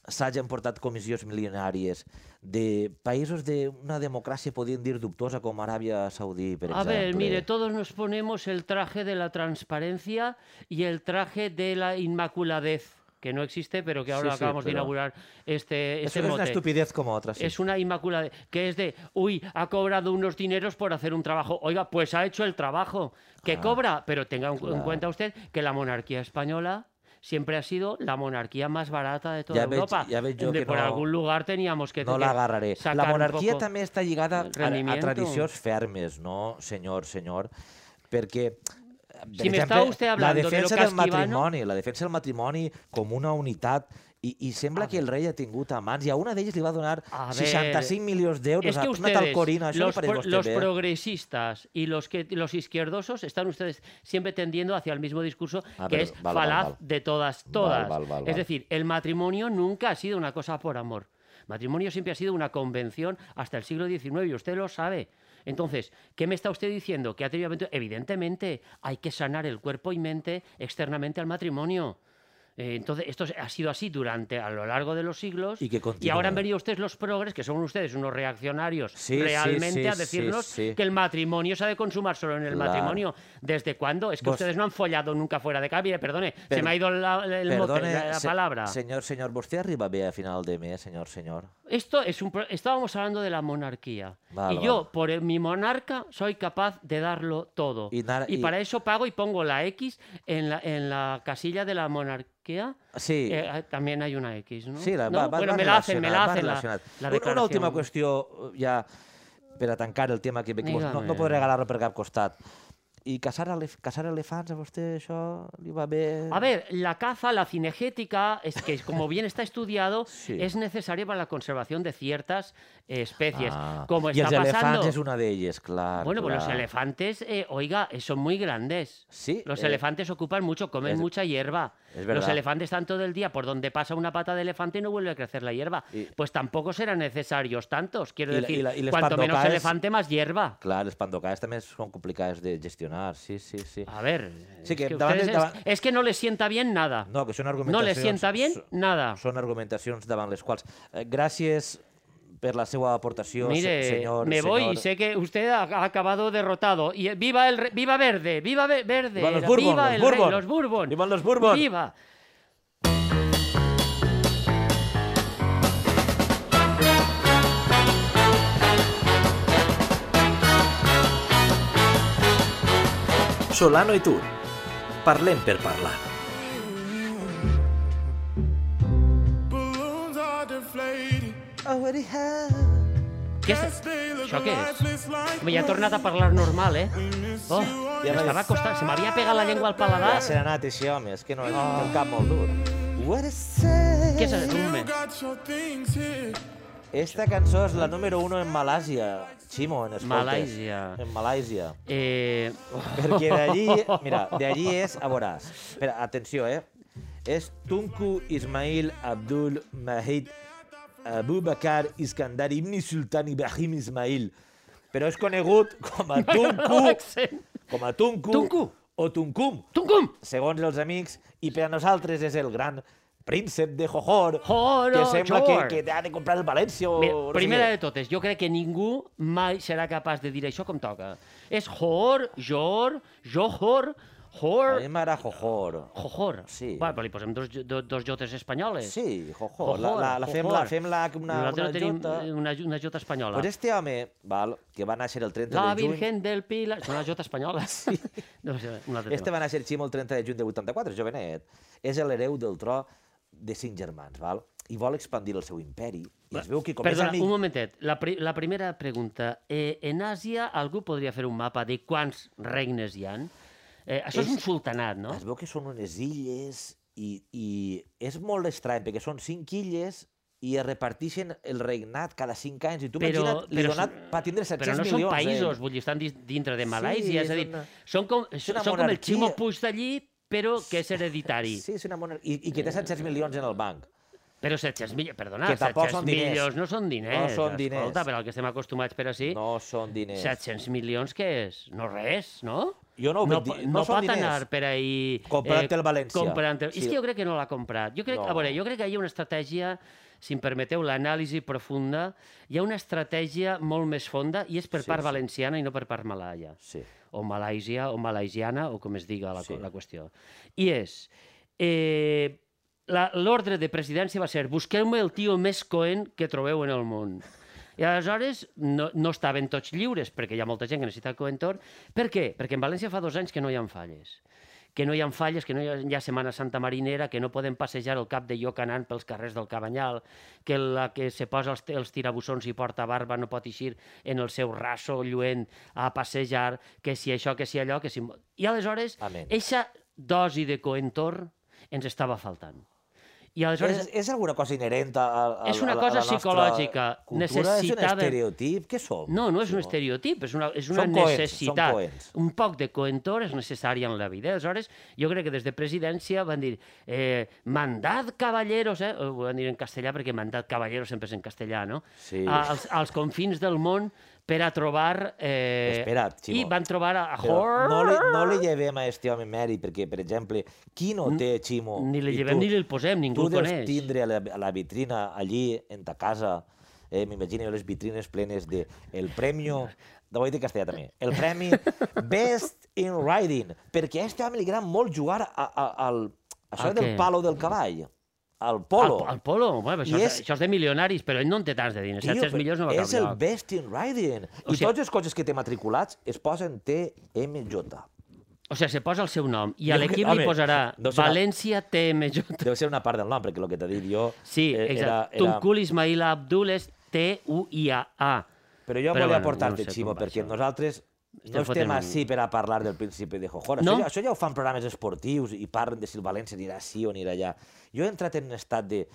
Speaker 2: s'hagi emportat comissions milionàries de països d'una democràcia, podríem dir, dubtosa, com Aràbia Saudí, per
Speaker 1: A
Speaker 2: exemple?
Speaker 1: ver, mire, todos nos ponemos el traje de la transparencia y el traje de la inmaculadez, que no existe, pero que ahora
Speaker 2: Sí, sí,
Speaker 1: acabamos de
Speaker 2: pero-
Speaker 1: inaugurar este,
Speaker 2: Això
Speaker 1: este
Speaker 2: és una
Speaker 1: mote.
Speaker 2: estupidez com otra, sí.
Speaker 1: Es una inmaculada, que es de, uy, ha cobrado unos dineros por hacer un trabajo. Oiga, pues ha hecho el trabajo. Que cobra, pero tenga en cu- en
Speaker 2: Ah. claro.
Speaker 1: cuenta usted que la monarquía española siempre ha sido la monarquía más barata de toda
Speaker 2: Ya veig-
Speaker 1: Europa.
Speaker 2: ya veig jo
Speaker 1: donde
Speaker 2: que
Speaker 1: por
Speaker 2: no-
Speaker 1: algún lugar teníamos que
Speaker 2: No
Speaker 1: que
Speaker 2: l'agarraré. La
Speaker 1: sacar un
Speaker 2: monarquia
Speaker 1: poco.
Speaker 2: també està lligada
Speaker 1: el
Speaker 2: a, a
Speaker 1: rendimiento.
Speaker 2: tradicions fermes, no, senyor, senyor? Perquè, eh, per
Speaker 1: Si me está usted
Speaker 2: la
Speaker 1: hablando de lo
Speaker 2: defensa del
Speaker 1: casquivano-
Speaker 2: matrimoni, la defensa del matrimoni com una unitat, i, i sembla que el rei ha tingut a mans, i a una d'elles li va donar
Speaker 1: A ver,
Speaker 2: 65 milions d'euros
Speaker 1: Es
Speaker 2: a
Speaker 1: que
Speaker 2: una tal
Speaker 1: ustedes,
Speaker 2: Corina, això
Speaker 1: los,
Speaker 2: li pareix
Speaker 1: pro-
Speaker 2: a vostè
Speaker 1: los
Speaker 2: bé?
Speaker 1: progresistas y los que los izquierdosos están ustedes siempre tendiendo hacia el mismo discurso
Speaker 2: Ah,
Speaker 1: que
Speaker 2: pero-
Speaker 1: es
Speaker 2: vale, vale,
Speaker 1: falaz
Speaker 2: vale.
Speaker 1: de todas todas.
Speaker 2: vale, vale,
Speaker 1: es
Speaker 2: vale.
Speaker 1: decir, el matrimonio nunca ha sido una cosa por amor. Matrimonio siempre ha sido una convención hasta el siglo XIX y usted lo sabe. Entonces, ¿qué me está usted diciendo? Que ha tenido aventu- Evidentemente, hay que sanar el cuerpo y mente externamente al matrimonio. Eh, entonces, esto ha sido así durante a lo largo de los siglos.
Speaker 2: Y que continúa.
Speaker 1: ahora han venido ustedes los progres, que son ustedes unos reaccionarios,
Speaker 2: Sí, sí,
Speaker 1: realmente
Speaker 2: sí,
Speaker 1: a decirnos
Speaker 2: sí, sí.
Speaker 1: que el matrimonio se ha de consumar solo en el
Speaker 2: Claro.
Speaker 1: matrimonio. ¿Desde cuándo? Es que
Speaker 2: Vos-
Speaker 1: ustedes no han follado nunca fuera de casa. Mire, perdone,
Speaker 2: Per-
Speaker 1: se me ha ido la, el mote, la, la
Speaker 2: se-
Speaker 1: palabra.
Speaker 2: Señor, señor, vostè arriba bé a final de mes, señor, señor.
Speaker 1: Esto es un pro- estábamos hablando de la monarquía
Speaker 2: Vale,
Speaker 1: y yo
Speaker 2: vale.
Speaker 1: por el- mi monarca soy capaz de darlo todo
Speaker 2: Y nar- y-
Speaker 1: para eso pago y pongo la X en la en la casilla de la monarquía.
Speaker 2: Sí.
Speaker 1: Eh, ah, también hay una X, ¿no?
Speaker 2: Sí, la,
Speaker 1: No,
Speaker 2: va, va,
Speaker 1: bueno,
Speaker 2: va
Speaker 1: me la hacen, me la
Speaker 2: relacionat, va
Speaker 1: hacen la,
Speaker 2: relacionat.
Speaker 1: la
Speaker 2: Una- Una última
Speaker 1: declaración.
Speaker 2: qüestió eh, ja per a tancar el tema que que vos no, no
Speaker 1: Digue'm.
Speaker 2: podré agarrar-lo per cap costat. I caçar, elef caçar elefants a vostè això li va bé?
Speaker 1: A ver, la caza, la cinegética, es que como bien está estudiado,
Speaker 2: Sí.
Speaker 1: es necesaria para la conservación de ciertas eh, especies.
Speaker 2: Ah,
Speaker 1: como
Speaker 2: I
Speaker 1: está
Speaker 2: els elefants
Speaker 1: pasando.
Speaker 2: és una d'elles, clar.
Speaker 1: Bueno, pues los
Speaker 2: clar.
Speaker 1: elefantes, eh, oiga, eh, son muy grandes.
Speaker 2: Sí,
Speaker 1: Los
Speaker 2: eh,
Speaker 1: elefantes ocupan mucho, comen
Speaker 2: es-
Speaker 1: mucha hierba.
Speaker 2: es verdad.
Speaker 1: Los elefantes están todo el día por donde pasa una pata de elefante y no vuelve a crecer la hierba.
Speaker 2: Y-
Speaker 1: Pues tampoco serán necesarios tantos. Quiero
Speaker 2: Y la-
Speaker 1: decir,
Speaker 2: y la- y les
Speaker 1: cuanto menos
Speaker 2: pandocaes-
Speaker 1: elefante, más hierba.
Speaker 2: Clar, les pandocaes també són complicades de gestionar, sí, sí, sí.
Speaker 1: A ver,
Speaker 2: Sí,
Speaker 1: es,
Speaker 2: que
Speaker 1: que
Speaker 2: davant de-
Speaker 1: ustedes es-
Speaker 2: davant-
Speaker 1: es que no les sienta bien nada.
Speaker 2: No, que són
Speaker 1: No
Speaker 2: argumentacions...
Speaker 1: les sienta bien
Speaker 2: so-
Speaker 1: nada.
Speaker 2: Són argumentacions davant les quals... Eh, Gràcies per la seva aportació, se-
Speaker 1: Mire,
Speaker 2: senyor.
Speaker 1: me voy
Speaker 2: senyor.
Speaker 1: y sé que usted ha, ha acabado derrotado. Y eh, viva el re- viva Verde, viva Ve- Verde,
Speaker 2: Viva los
Speaker 1: era,
Speaker 2: Bourbon,
Speaker 1: viva
Speaker 2: los
Speaker 1: el rey,
Speaker 2: Bourbon.
Speaker 1: los Bourbon.
Speaker 2: Vivan los Bourbon.
Speaker 1: Viva.
Speaker 3: Solano i Tur. Parlem per parlar.
Speaker 6: Balloons are deflated.
Speaker 1: Què és,
Speaker 6: They look
Speaker 1: això què és?
Speaker 6: lifeless like
Speaker 1: Home, ja he tornat a parlar normal, eh? Oh,
Speaker 2: Ja
Speaker 1: ja m'estava
Speaker 2: veus.
Speaker 1: costant. Se m'havia pegat la llengua al paladar.
Speaker 2: Ja se n'ha anat així, home, és que no és un cap molt dur.
Speaker 1: Què és el
Speaker 6: you
Speaker 1: rumbe?
Speaker 6: got your things here.
Speaker 2: Esta cançó és la número 1 en Malàsia. Ximo, en escoltes.
Speaker 1: Malàisia.
Speaker 2: En Malàisia.
Speaker 1: Eh...
Speaker 2: Perquè d'allí, mira, d'allí és, a veuràs, espera, atenció, eh? És Tunku Ismail Abdul Mahid Abu Bakar Iskandar Ibn Sultan Ibrahim Ismail. Però és conegut com a Tunku,
Speaker 1: l'accent.
Speaker 2: com a Tunku,
Speaker 1: Tunku.
Speaker 2: o Tunkum,
Speaker 1: Tuncum!
Speaker 2: segons els amics, i per a nosaltres és el gran príncep de Johor,
Speaker 1: Johor,
Speaker 2: que sembla que,
Speaker 1: Johor.
Speaker 2: que ha de comprar el València o...
Speaker 1: Mira,
Speaker 2: no sé
Speaker 1: primera
Speaker 2: què.
Speaker 1: de totes, jo crec que ningú mai serà capaç de dir això com toca. És Johor, Johor, Johor,
Speaker 2: A
Speaker 1: Johor,
Speaker 2: mi m'agrada Johor.
Speaker 1: Johor.
Speaker 2: Sí.
Speaker 1: Va, però li posem dos, dos, dos jotes espanyoles.
Speaker 2: Sí, Johor. La, la, la fem,
Speaker 1: Johor.
Speaker 2: la, fem la, una,
Speaker 1: Nosaltres
Speaker 2: una
Speaker 1: tenim
Speaker 2: jota.
Speaker 1: eh, una, una jota espanyola.
Speaker 2: Pues este home, val, que va néixer el 30
Speaker 1: La
Speaker 2: de juny...
Speaker 1: Virgen del Pilar... És una jota espanyola. Sí. No sé, un altre
Speaker 2: Este
Speaker 1: tema.
Speaker 2: va néixer a Ximo el 30 de juny de 84, jovenet. És l'hereu del tro de cinc germans, val? I vol expandir el seu imperi. I es veu que com
Speaker 1: Perdona,
Speaker 2: és amic...
Speaker 1: un momentet. La, pri la primera pregunta. Eh, en Àsia algú podria fer un mapa de quants regnes hi han? Eh, això és,
Speaker 2: És-
Speaker 1: un sultanat, no?
Speaker 2: Es veu que són unes illes i, i és molt estrany, perquè són cinc illes i es reparteixen el regnat cada cinc anys. I tu
Speaker 1: Però-
Speaker 2: imagina't, li
Speaker 1: però
Speaker 2: donat
Speaker 1: són-
Speaker 2: per tindre 700
Speaker 1: Però no són
Speaker 2: milions. eh?
Speaker 1: països, vull dir, estan dis- dintre de
Speaker 2: Sí,
Speaker 1: Malàisia, és a
Speaker 2: és
Speaker 1: dir,
Speaker 2: una-
Speaker 1: són com,
Speaker 2: una
Speaker 1: són com el
Speaker 2: monarquia.
Speaker 1: Ximo Puig d'allí, però que és hereditari.
Speaker 2: Sí, és una monarquia. I, I que té
Speaker 1: Eh,
Speaker 2: 700 milions en el banc.
Speaker 1: Però 700 milions, perdona,
Speaker 2: Que tampoc
Speaker 1: 700
Speaker 2: són diners.
Speaker 1: milions no són diners.
Speaker 2: No són diners.
Speaker 1: Escolta, per al que estem acostumats per així,
Speaker 2: No són diners.
Speaker 1: 700 milions què és? No res, no?
Speaker 2: Jo no ho
Speaker 1: no,
Speaker 2: veig
Speaker 1: po-
Speaker 2: dir-
Speaker 1: no,
Speaker 2: no
Speaker 1: no
Speaker 2: són
Speaker 1: pot
Speaker 2: diners.
Speaker 1: anar per ahir...
Speaker 2: Comprant-te el València.
Speaker 1: Comprant el...
Speaker 2: Sí.
Speaker 1: Sí. És que jo crec que no l'ha comprat. Jo crec,
Speaker 2: No.
Speaker 1: A veure, jo crec que hi ha una estratègia, si em permeteu l'anàlisi profunda, hi ha una estratègia molt més fonda i és per
Speaker 2: Sí,
Speaker 1: sí, part
Speaker 2: sí.
Speaker 1: sí. valenciana i no per part malaia
Speaker 2: Sí.
Speaker 1: o Malàisia o malaisiana o com es diga la,
Speaker 2: Sí.
Speaker 1: sí. la qüestió. I és... Eh, la- L'ordre de presidència va ser busqueu-me el tio més coent que trobeu en el món. I aleshores no, no estaven tots lliures, perquè hi ha molta gent que necessita el coentor. Per què? Perquè en València fa dos anys que no hi ha falles que no hi ha falles, que no hi ha, hi ha Setmana Santa Marinera, que no poden passejar el cap de lloc anant pels carrers del Cabanyal, que la que se posa els, els tirabussons i porta barba no pot eixir en el seu raso lluent a passejar, que si això, que si allò, que si... I aleshores,
Speaker 2: Amén.
Speaker 1: eixa dosi de coentor ens estava faltant. I aleshores...
Speaker 2: És, és alguna cosa inherent a, a, a,
Speaker 1: És una
Speaker 2: a la-
Speaker 1: cosa
Speaker 2: a la nostra
Speaker 1: psicològica.
Speaker 2: Cultura? És
Speaker 1: Necessitava-
Speaker 2: un estereotip? Què som?
Speaker 1: No, no és un estereotip, és una, és una
Speaker 2: Són coherents, són
Speaker 1: necessitat.
Speaker 2: coherents.
Speaker 1: un poc de coentor és necessari en la vida. Aleshores, jo crec que des de presidència van dir eh, mandat cavalleros, eh? ho van dir en castellà perquè mandat cavalleros sempre és en castellà, no?
Speaker 2: Sí.
Speaker 1: A, als, als confins del món per a trobar... Eh,
Speaker 2: Espera, Ximo.
Speaker 1: I van trobar a, a
Speaker 2: Però
Speaker 1: Hor...
Speaker 2: no, li, no li llevem a este home mèrit, perquè, per exemple, qui no té, Ximo?
Speaker 1: ni li
Speaker 2: I
Speaker 1: llevem ni li posem, ningú
Speaker 2: tu
Speaker 1: el
Speaker 2: deus
Speaker 1: coneix.
Speaker 2: tindre a la, a la vitrina allí, en ta casa, eh, m'imagino jo les vitrines plenes de el premi... De ho he dit en castellà també. El premi Best in Riding, perquè a este home li agrada molt jugar a, a, al... Això
Speaker 1: Al
Speaker 2: del
Speaker 1: què?
Speaker 2: palo del cavall, al polo.
Speaker 1: Al, al polo. Bueno, això,
Speaker 2: I
Speaker 1: és...
Speaker 2: és-
Speaker 1: això és de milionaris, però ell no en té tants de diners.
Speaker 2: Tio,
Speaker 1: Tio, 700
Speaker 2: però
Speaker 1: milions no va
Speaker 2: és
Speaker 1: cap
Speaker 2: el
Speaker 1: lloc.
Speaker 2: Best in Riding.
Speaker 1: O
Speaker 2: I
Speaker 1: sigui-
Speaker 2: tots els cotxes que té matriculats es posen TMJ.
Speaker 1: O sigui, se posa el seu nom i
Speaker 2: Jo
Speaker 1: a
Speaker 2: crec-
Speaker 1: l'equip
Speaker 2: home,
Speaker 1: li posarà
Speaker 2: deu ser una-
Speaker 1: València TMJ.
Speaker 2: Deu ser una part del nom, perquè el que t'he dit jo...
Speaker 1: Sí,
Speaker 2: eh,
Speaker 1: exacte. Tunkul Ismail Abdul és T-U-I-A-A.
Speaker 2: Però jo
Speaker 1: Però
Speaker 2: volia
Speaker 1: bueno,
Speaker 2: portar-te,
Speaker 1: no sé
Speaker 2: Ximo,
Speaker 1: com va
Speaker 2: perquè
Speaker 1: això.
Speaker 2: nosaltres no estem
Speaker 1: fotent un-
Speaker 2: així per a parlar del príncipe de Jojón.
Speaker 1: No?
Speaker 2: Això, ja, això ja ho fan programes esportius i parlen de si el València anirà així o anirà allà. Jo he entrat en un estat de...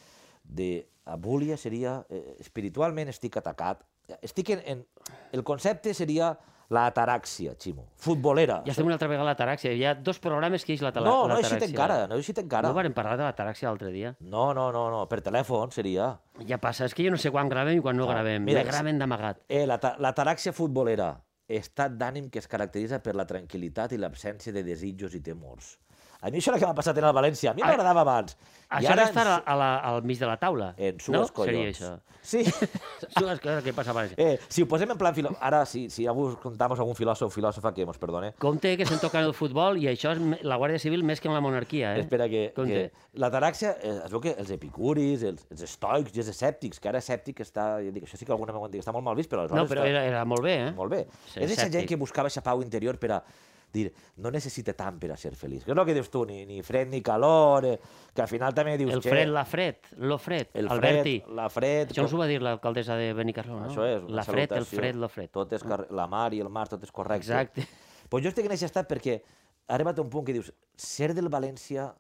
Speaker 2: de abúlia seria... Eh, espiritualment estic atacat. Estic en, en... El concepte seria la ataràxia, Ximo. Futbolera.
Speaker 1: Ja estem una altra vegada a la taràxia. Hi ha dos programes que és la, tala-
Speaker 2: no,
Speaker 1: la
Speaker 2: no he eixit
Speaker 1: taràxia.
Speaker 2: encara, no he eixit encara.
Speaker 1: No vàrem parlar de la taràxia l'altre dia.
Speaker 2: no, no, no, no, per telèfon seria.
Speaker 1: Ja passa, és que jo no sé quan gravem i quan no
Speaker 2: Ah,
Speaker 1: gravem.
Speaker 2: mira,
Speaker 1: Mira, graven d'amagat.
Speaker 2: Eh, la, ta- la taràxia futbolera, estat d'ànim que es caracteritza per la tranquil·litat i l'absència de desitjos i temors. A mi això era que m'ha passat en el València. A mi
Speaker 1: Ah,
Speaker 2: m'agradava abans. I
Speaker 1: Això ara
Speaker 2: ens-
Speaker 1: està
Speaker 2: Eh,
Speaker 1: a la, a la, al mig de la taula.
Speaker 2: En
Speaker 1: no?
Speaker 2: sues collons.
Speaker 1: Seria això.
Speaker 2: Sí.
Speaker 1: Són les coses que passa a València.
Speaker 2: Eh, si ho posem en plan... Filo... Ara, si, si ja vos contamos algun filòsof o filòsofa que mos perdone,
Speaker 1: Compte que se'n toca en el futbol i això és me- la Guàrdia Civil més que en la monarquia, eh?
Speaker 2: Espera que, que...
Speaker 1: Compte.
Speaker 2: La taràxia, eh, es veu que els epicuris, els, els estoics i els escèptics, que ara escèptic està... Jo dic, això sí que alguna vegada ho han dit, està molt mal vist, però aleshores...
Speaker 1: No, però
Speaker 2: està-
Speaker 1: era, era molt bé, eh?
Speaker 2: Molt bé.
Speaker 1: Ser
Speaker 2: és aquesta gent
Speaker 1: escèptic.
Speaker 2: que buscava aquesta pau interior per a dir, no necessita tant per a ser feliç. Que és el que dius tu, ni, ni fred ni calor, eh, que al final també dius...
Speaker 1: El
Speaker 2: "Che,
Speaker 1: fred, la fred, lo fred,
Speaker 2: el fred,
Speaker 1: Alberti.
Speaker 2: la fred...
Speaker 1: Això ens
Speaker 2: com-
Speaker 1: ho va dir l'alcaldessa de Benicarló, no?
Speaker 2: Això és, una
Speaker 1: La fred, el
Speaker 2: salutació.
Speaker 1: fred, lo fred.
Speaker 2: Tot és car- la mar i el mar, tot és correcte.
Speaker 1: Exacte.
Speaker 2: Pues jo estic en aquest estat perquè ha arribat un punt que dius, ser del València,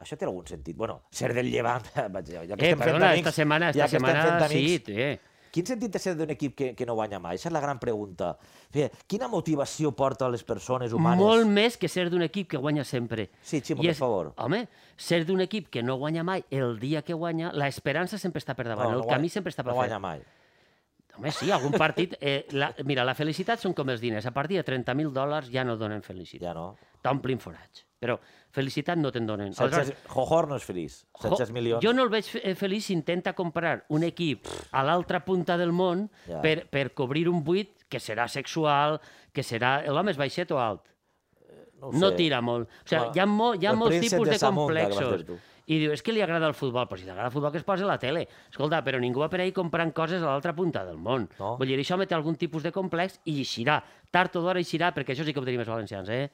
Speaker 2: això té algun sentit. Bueno, ser del Llevant, vaig, ja que
Speaker 1: Eh,
Speaker 2: estem fent
Speaker 1: perdona,
Speaker 2: amics,
Speaker 1: esta setmana,
Speaker 2: ja
Speaker 1: esta
Speaker 2: que estem
Speaker 1: setmana,
Speaker 2: fent
Speaker 1: sí,
Speaker 2: amics,
Speaker 1: eh.
Speaker 2: Quin sentit té ser d'un equip que, que no guanya mai? Això és la gran pregunta. Fé, quina motivació porta a les persones humanes?
Speaker 1: Molt més que ser d'un equip que guanya sempre.
Speaker 2: Sí, Ximo,
Speaker 1: I
Speaker 2: per favor.
Speaker 1: Home, ser d'un equip que no guanya mai, el dia que guanya, l'esperança sempre està per davant, el
Speaker 2: guanya-
Speaker 1: camí sempre està per
Speaker 2: no
Speaker 1: fer.
Speaker 2: guanya mai.
Speaker 1: Home, sí, algun partit... Eh, la, mira, la felicitat són com els diners. A partir de 30.000 dòlars ja no donen felicitat.
Speaker 2: Ja no.
Speaker 1: Ja. T'omplin forats. Però felicitat no te'n donen.
Speaker 2: 700, Jojor no és feliç. 700
Speaker 1: jo-
Speaker 2: milions.
Speaker 1: Jo no el veig fe- eh, feliç si intenta comprar un equip a l'altra punta del món
Speaker 2: Ja.
Speaker 1: per, per cobrir un buit que serà sexual, que serà... L'home és baixet o alt?
Speaker 2: no, ho
Speaker 1: No
Speaker 2: sé.
Speaker 1: tira molt. O sigui,
Speaker 2: Clar,
Speaker 1: hi ha, mo, hi ha
Speaker 2: el
Speaker 1: molts
Speaker 2: príncep
Speaker 1: tipus
Speaker 2: de
Speaker 1: de
Speaker 2: Zamunda que vas dir
Speaker 1: complexos.
Speaker 2: tu.
Speaker 1: I diu, és que li agrada el futbol. Però si t'agrada el futbol, que es posa a la tele. Escolta, però ningú va per ahir comprant coses a l'altra punta del món.
Speaker 2: No.
Speaker 1: Vull dir, això té algun tipus de complex i eixirà. Tard o d'hora eixirà, perquè això sí que ho tenim els valencians, eh?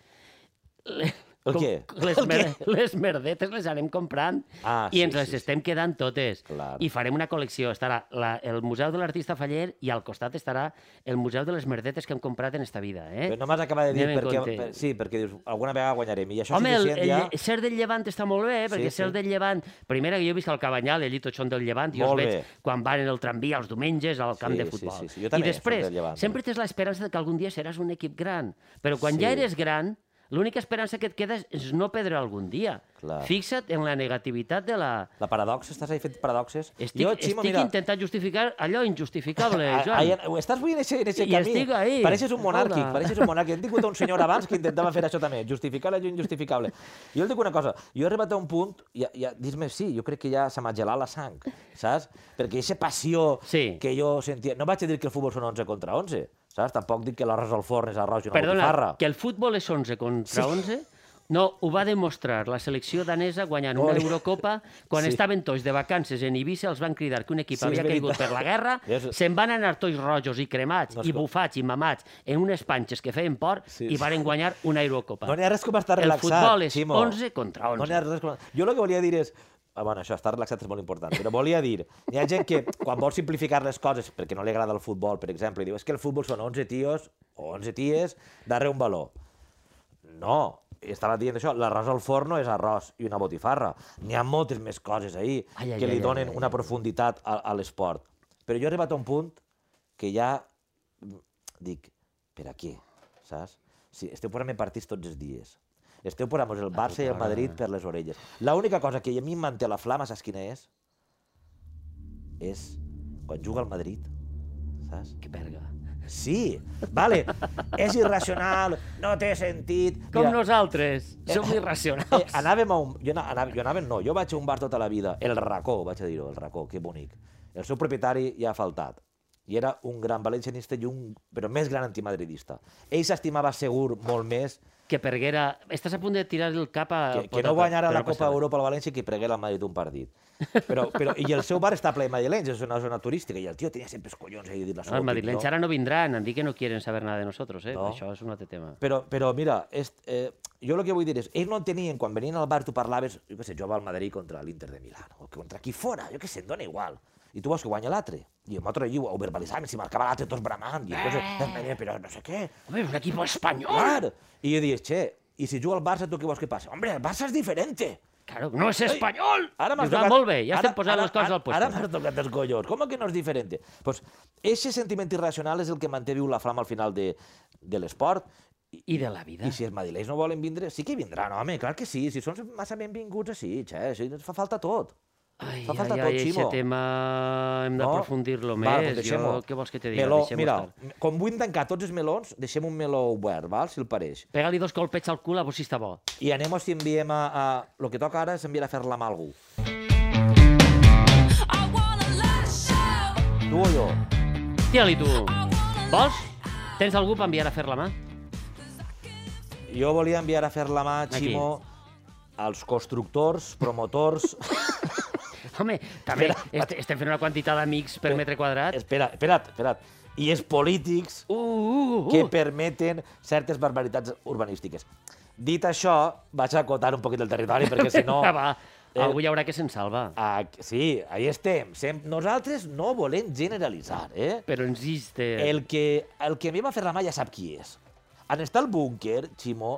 Speaker 1: Le-
Speaker 2: El
Speaker 1: com-
Speaker 2: què?
Speaker 1: Les,
Speaker 2: El
Speaker 1: mer
Speaker 2: què?
Speaker 1: les merdetes les anem comprant
Speaker 2: Ah,
Speaker 1: i
Speaker 2: sí,
Speaker 1: ens les
Speaker 2: sí, sí.
Speaker 1: estem quedant totes.
Speaker 2: Clar.
Speaker 1: I farem una col·lecció. Estarà la, el Museu de l'Artista Faller i al costat estarà el Museu de les Merdetes que hem comprat en esta vida. Eh?
Speaker 2: Però no m'has acabat de dir
Speaker 1: Anem en
Speaker 2: perquè...
Speaker 1: compte.
Speaker 2: Per, sí, perquè dius, alguna vegada guanyarem. I això
Speaker 1: Home,
Speaker 2: és
Speaker 1: el,
Speaker 2: suficient
Speaker 1: el,
Speaker 2: ja...
Speaker 1: lle- ser del Llevant està molt bé, eh? perquè
Speaker 2: Sí,
Speaker 1: sí, ser
Speaker 2: sí.
Speaker 1: del Llevant... Primera, que jo he vist al Cabanyal, allí tots són del Llevant, i jo
Speaker 2: Molt
Speaker 1: els veig
Speaker 2: bé.
Speaker 1: quan van en el tramvia els diumenges al camp
Speaker 2: Sí,
Speaker 1: de
Speaker 2: sí,
Speaker 1: futbol.
Speaker 2: sí, sí. Jo també
Speaker 1: I
Speaker 2: soc
Speaker 1: després,
Speaker 2: del Llevant,
Speaker 1: sempre tens l'esperança de que algun dia seràs un equip gran, però quan
Speaker 2: Sí.
Speaker 1: sí. ja eres gran, l'única esperança que et queda és- és no perdre algun dia.
Speaker 2: Clar.
Speaker 1: Fixa't en la negativitat de la...
Speaker 2: La paradoxa, estàs ahí fent paradoxes?
Speaker 1: Estic, jo, Ximo, estic intentant justificar allò injustificable,
Speaker 2: a-
Speaker 1: Eh, Joan.
Speaker 2: ahir- ho estàs avui Ah, en aquest, en aquest
Speaker 1: I
Speaker 2: camí.
Speaker 1: estic ahí.
Speaker 2: Pareixes un monàrquic,
Speaker 1: Hola.
Speaker 2: pareixes un monàrquic. Hem tingut un senyor abans que intentava fer això també, justificar allò injustificable. Jo et dic una cosa, jo he arribat a un punt, ja, ja, dis-me sí, jo crec que ja se m'ha gelat la sang, saps? Perquè aquesta passió
Speaker 1: Sí.
Speaker 2: que jo sentia... No vaig a dir que el futbol són 11 contra 11, saps? Tampoc dic que l'arròs al forn és arròs i una
Speaker 1: Perdona,
Speaker 2: botifarra.
Speaker 1: que el futbol és 11 contra sí. 11? No, ho va demostrar la selecció danesa guanyant una
Speaker 2: Molt bé.
Speaker 1: Eurocopa quan sí.
Speaker 2: Sí.
Speaker 1: estaven tots de vacances en Eivissa, els van cridar que un equip
Speaker 2: Sí,
Speaker 1: sí,
Speaker 2: és
Speaker 1: havia caigut
Speaker 2: veritat.
Speaker 1: per la guerra,
Speaker 2: Ja és-
Speaker 1: se'n van anar tots rojos i cremats, no
Speaker 2: No és
Speaker 1: i
Speaker 2: com-
Speaker 1: bufats i mamats en unes panxes que feien por
Speaker 2: Sí,
Speaker 1: sí, i
Speaker 2: sí.
Speaker 1: varen guanyar una Eurocopa.
Speaker 2: No n'hi ha res com estar
Speaker 1: El
Speaker 2: relaxat,
Speaker 1: futbol és
Speaker 2: Ximo.
Speaker 1: 11 contra 11.
Speaker 2: No n'hi ha res com... Jo el que volia dir és... Ah, bueno, això, estar relaxat és molt important, però volia dir, hi ha gent que quan vol simplificar les coses, perquè no li agrada el futbol, per exemple, i diu, és que el futbol són 11 tios o 11 ties darrere un valor. No, estava dient això, l'arròs al forno és arròs i una botifarra. N'hi ha moltes més coses ahir
Speaker 1: Ai, ai,
Speaker 2: que li
Speaker 1: ai, ai,
Speaker 2: donen
Speaker 1: ai, ai,
Speaker 2: una profunditat a, a l'esport. Però jo he arribat a un punt que ja mm, dic, per a què, saps? Si esteu posant-me partits tots els dies. Esteu posant el Barça i el Madrid per les orelles. L'única cosa que a mi em manté la flama, saps quina és? És quan juga el Madrid, saps?
Speaker 1: Que verga.
Speaker 2: Sí, vale, és irracional, no té sentit...
Speaker 1: Com
Speaker 2: Mira,
Speaker 1: nosaltres. Som
Speaker 2: Eh,
Speaker 1: irracionals.
Speaker 2: anàvem a un... Jo ana- anava, jo anava, no, jo vaig a un bar tota la vida, el racó, vaig a dir-ho, el racó, que bonic. El seu propietari ja ha faltat. I era un gran valencianista i un, però més gran antimadridista. Ell s'estimava segur molt més
Speaker 1: Que Perguera... Estàs a punt de tirar el cap a...
Speaker 2: que, que
Speaker 1: potata,
Speaker 2: no guanyara
Speaker 1: Ah, però
Speaker 2: la Copa
Speaker 1: passa res.
Speaker 2: Europa al València i que pregués al Madrid un partit. Però, però, I el seu bar està ple de madrilenys, és una zona turística, i el tio tenia sempre els collons ahí de dir la
Speaker 1: No,
Speaker 2: seva
Speaker 1: Ah, els madrilenys
Speaker 2: opinió.
Speaker 1: ara no vindran, han dit que no quieren saber nada de nosotros, eh?
Speaker 2: No.
Speaker 1: Això és un altre tema.
Speaker 2: Però, però mira, est, eh, jo el que vull dir és, ells no entenien, quan venien al bar tu parlaves, jo què sé, jugava al Madrid contra l'Inter de Milán, o contra qui fora, jo què sé, em dona igual. I tu vols que guanya l'altre. I em el altre lliu, ho verbalitzàvem, si marcava l'altre, tots bramant, i coses, eh, però no sé què.
Speaker 1: Home, un equip espanyol!
Speaker 2: Clar! I jo dius, che, i si juga al Barça, tu què vols que passi? Hombre, el Barça és diferent.
Speaker 1: Claro, no és espanyol!
Speaker 2: Ara
Speaker 1: Dius,
Speaker 2: m'has
Speaker 1: Pues va,
Speaker 2: tocat...
Speaker 1: molt bé, ja estem
Speaker 2: ara-
Speaker 1: posant
Speaker 2: ara-
Speaker 1: les coses
Speaker 2: ara-
Speaker 1: al lloc.
Speaker 2: Ara m'has tocat els collons. Com que no és diferent? Pues, eixe sentiment irracional és el que manté viu la flama al final de, de l'esport. I,
Speaker 1: I de la vida.
Speaker 2: I si els madrilenys no volen vindre, sí que vindran, home, clar que sí. Si són massa benvinguts a Sitges, eh? Si ens fa falta tot.
Speaker 1: Ai,
Speaker 2: Fa falta
Speaker 1: ai,
Speaker 2: tot,
Speaker 1: ai, aquest
Speaker 2: Ximo.
Speaker 1: tema hem d'aprofundir-lo
Speaker 2: Val,
Speaker 1: més.
Speaker 2: doncs deixem-ho.
Speaker 1: jo, què vols que te digui?
Speaker 2: Meló, mira, com vull tancar tots els melons, deixem un meló obert, val? si el pareix.
Speaker 1: Pega-li dos colpets al cul a veure si està bo.
Speaker 2: I anem o si enviem a... a... Lo que toca ara és enviar a fer-la mà a algú. Tu o jo?
Speaker 1: Tira-li tu. Vols? Tens algú per enviar a fer la mà?
Speaker 2: Jo volia enviar a fer la mà, Ximo, als constructors, promotors...
Speaker 1: Home, també
Speaker 2: Espera.
Speaker 1: est estem fent una quantitat d'amics per metre quadrat.
Speaker 2: espera, espera't, espera't. I els polítics
Speaker 1: Uh, uh, uh.
Speaker 2: que permeten certes barbaritats urbanístiques. Dit això, vaig a acotar un poquit el territori, perquè si no...
Speaker 1: Ah, va,
Speaker 2: Eh,
Speaker 1: algú hi haurà que se'n salva.
Speaker 2: Ah, sí, ahí estem. Sem Nosaltres no volem generalitzar, eh?
Speaker 1: Però insiste.
Speaker 2: El que, el que a mi em va fer la mà ja sap qui és. En estar al búnquer, Ximo,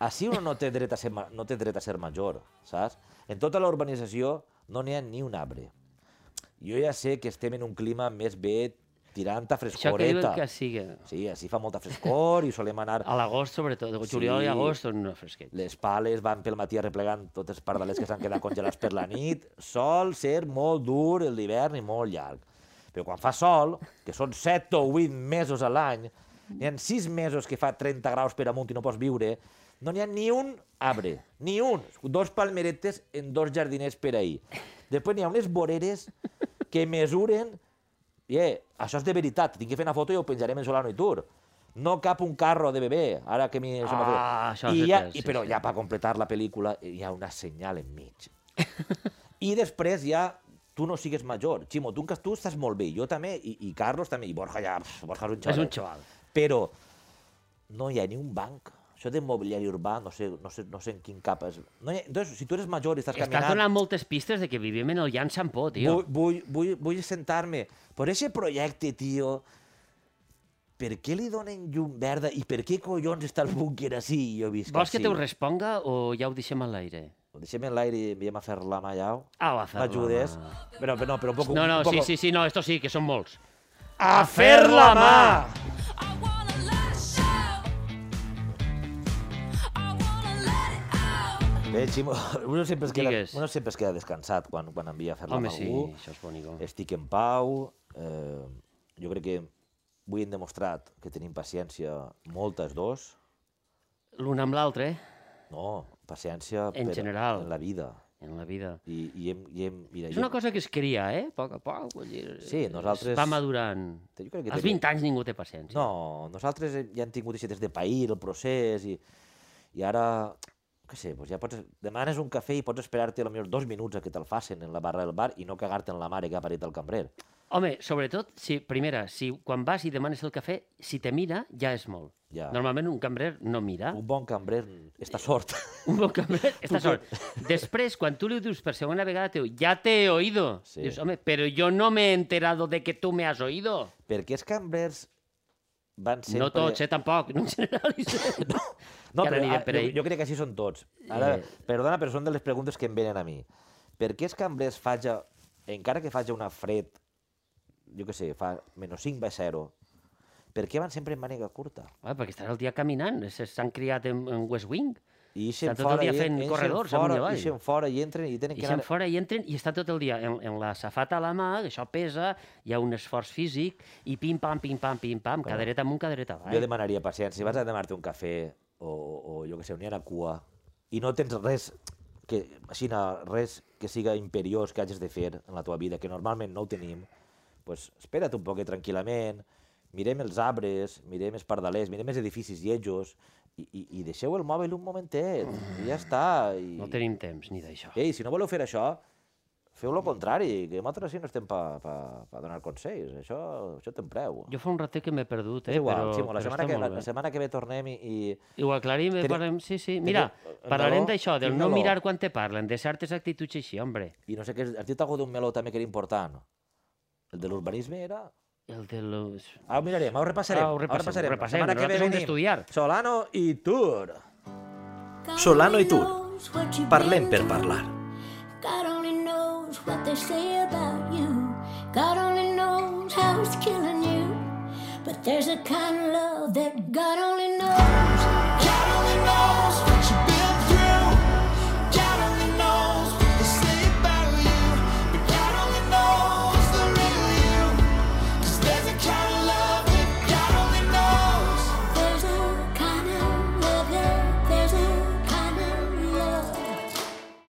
Speaker 2: així uno no té dret a ser, ma- no té dret a ser major, saps? En tota la urbanització no n'hi ha ni un arbre. Jo ja sé que estem en un clima més bé tirant a
Speaker 1: Això que diuen
Speaker 2: frescoreta.
Speaker 1: que Ah, sigui.
Speaker 2: Sí, així fa molta frescor i solem anar...
Speaker 1: A l'agost, sobretot. Juliol i
Speaker 2: Sí.
Speaker 1: agost són una fresquet.
Speaker 2: Les pales van pel matí arreplegant totes les pardalers que s'han quedat congelats per la nit. Sol ser molt dur el l'hivern i molt llarg. Però quan fa sol, que són 7 o 8 mesos a l'any, n'hi ha 6 mesos que fa 30 graus per amunt i no pots viure, no n'hi ha ni un arbre, ni un. Dos palmeretes en dos jardiners per ahir. Després n'hi ha unes voreres que mesuren Yeah, això és de veritat, tinc que fer una foto i ho penjarem en Solano i Tour. No cap un carro de bebè, ara que mi...
Speaker 1: Ah, això
Speaker 2: I
Speaker 1: sí
Speaker 2: ja,
Speaker 1: que és,
Speaker 2: i,
Speaker 1: sí,
Speaker 2: però
Speaker 1: sí.
Speaker 2: ja per completar la pel·lícula eh, hi ha una senyal enmig. I després ja tu no sigues major. Ximo, tu, que tu estàs molt bé, jo també, i, i Carlos també, i Borja ja, pf, Borja és un xaval. eh.
Speaker 1: És un xaval.
Speaker 2: Però no hi ha ni un banc. Això de mobiliari urbà, no sé, no sé, no sé en quin cap és. No hi ha... Entonces, si tu eres major i estàs
Speaker 1: Estàs
Speaker 2: caminant...
Speaker 1: donant moltes pistes de que vivim en el Jan Sampó, tio.
Speaker 2: Vull, vull, vull, vull sentar-me. Per aquest projecte, tio, per què li donen llum verda i per què collons està el búnquer així? i Jo visc
Speaker 1: Vols que
Speaker 2: així?
Speaker 1: te ho responga o ja ho deixem a l'aire? Ah,
Speaker 2: Ho deixem en l'aire i enviem a fer la mà allà.
Speaker 1: Au, a fer la
Speaker 2: M'ajudes?
Speaker 1: mà.
Speaker 2: Però, però, no, però un poc...
Speaker 1: No, no,
Speaker 2: un poc...
Speaker 1: sí, sí, sí, no, esto sí, que són molts.
Speaker 2: A fer la mà! Bé, Ximo, uno sempre es queda,
Speaker 1: Digues.
Speaker 2: uno sempre es queda descansat quan, quan envia a fer la
Speaker 1: Home,
Speaker 2: mà a
Speaker 1: sí,
Speaker 2: algú.
Speaker 1: això és bonico.
Speaker 2: estic en pau, eh, jo crec que avui hem demostrat que tenim paciència moltes dos,
Speaker 1: L'un amb l'altre, eh,
Speaker 2: no, paciència
Speaker 1: En general.
Speaker 2: en la vida.
Speaker 1: en la vida.
Speaker 2: I, i hem, i hem, mira,
Speaker 1: És una cosa que es cria, eh? A poc a poc, vull dir...
Speaker 2: Sí, nosaltres-
Speaker 1: es Va madurant.
Speaker 2: Jo crec que
Speaker 1: Als
Speaker 2: tenim-
Speaker 1: 20 anys ningú té paciència.
Speaker 2: No, nosaltres hem- ja hem tingut així des de pair el procés i, i ara, què sé, doncs ja pots, demanes un cafè i pots esperar-te potser dos minuts a que te'l facin en la barra del bar i no cagar-te en la mare que ha parit el cambrer.
Speaker 1: Home, sobretot, si, primera, si quan vas i demanes el cafè, si te mira, ja és molt.
Speaker 2: Ja.
Speaker 1: Normalment un cambrer no mira.
Speaker 2: Un bon cambrer està sort.
Speaker 1: Un bon cambrer, està sort. Després, quan tu li ho dius per segona vegada, teu, ja t'he oído.
Speaker 2: Sí.
Speaker 1: Dius, home, però jo no m'he enterado de que tu me has oído.
Speaker 2: Perquè els cambrers van sempre...
Speaker 1: No tots, eh, tampoc. No generalitzem.
Speaker 2: No,
Speaker 1: Que ara
Speaker 2: però,
Speaker 1: anirem
Speaker 2: ah,
Speaker 1: per
Speaker 2: jo,
Speaker 1: ahí.
Speaker 2: jo crec que així són tots. Ara,
Speaker 1: Eh.
Speaker 2: perdona, però són de les preguntes que em venen a mi. Per què els cambrers faja, encara que faja una fred, jo què sé, fa menys 5 va 0, per què van sempre en mànega curta?
Speaker 1: Ah, perquè estàs el dia caminant. S- S'han criat en, en West Wing.
Speaker 2: I ixen
Speaker 1: Estan tot el
Speaker 2: fora,
Speaker 1: dia
Speaker 2: i,
Speaker 1: fent
Speaker 2: ixen
Speaker 1: corredors amunt i
Speaker 2: fora,
Speaker 1: avall.
Speaker 2: ixen fora i entren i tenen
Speaker 1: I
Speaker 2: que
Speaker 1: se'n
Speaker 2: anar...
Speaker 1: fora i entren i està tot el dia en, en la safata a la mà, que això pesa, hi ha un esforç físic, i pim-pam, pim-pam, pim-pam, cadereta amunt, cadereta
Speaker 2: Jo
Speaker 1: avall.
Speaker 2: demanaria paciència. Si vas a demanar-te un cafè o, o jo que sé, on hi ha una cua i no tens res que, així, na- res que siga imperiós que hagis de fer en la teva vida, que normalment no ho tenim, pues, espera't un poquet tranquil·lament, mirem els arbres, mirem els pardalers, mirem els edificis lletjos i, i, i deixeu el mòbil un momentet i ja està. I... Eh,
Speaker 1: No tenim temps ni d'això.
Speaker 2: Ei, si no voleu fer això, feu lo contrari, que nosaltres sí no estem pa, pa, pa donar consells, això, això té un preu.
Speaker 1: Jo fa un ratet que m'he perdut, eh?
Speaker 2: és igual,
Speaker 1: però,
Speaker 2: Ximo, la,
Speaker 1: però
Speaker 2: setmana
Speaker 1: està
Speaker 2: que,
Speaker 1: molt
Speaker 2: la,
Speaker 1: bé.
Speaker 2: la setmana que ve tornem i... i
Speaker 1: Ho aclarim,
Speaker 2: Teniu-
Speaker 1: Teniu... parlem... Sí, sí.
Speaker 2: teniu-
Speaker 1: Mira,
Speaker 2: eh, meló?
Speaker 1: parlarem d'això, del
Speaker 2: Quin
Speaker 1: no
Speaker 2: meló?
Speaker 1: mirar quan te parlen, de certes actituds així, hombre.
Speaker 2: I no sé què, has dit alguna d'un meló també que era important. El de l'urbanisme era...
Speaker 1: El de los...
Speaker 2: Ara ho mirarem, ara ho repassarem.
Speaker 1: Ah, ho repassem,
Speaker 2: repassarem.
Speaker 1: ho repassem,
Speaker 2: La setmana que ve
Speaker 1: nosaltres hem
Speaker 2: venim.
Speaker 1: d'estudiar.
Speaker 2: Solano i Tur.
Speaker 7: Solano i Tur. Parlem per parlar.
Speaker 8: God only knows what they say about you. God only knows how it's killing you. But there's a kind of love that God only knows.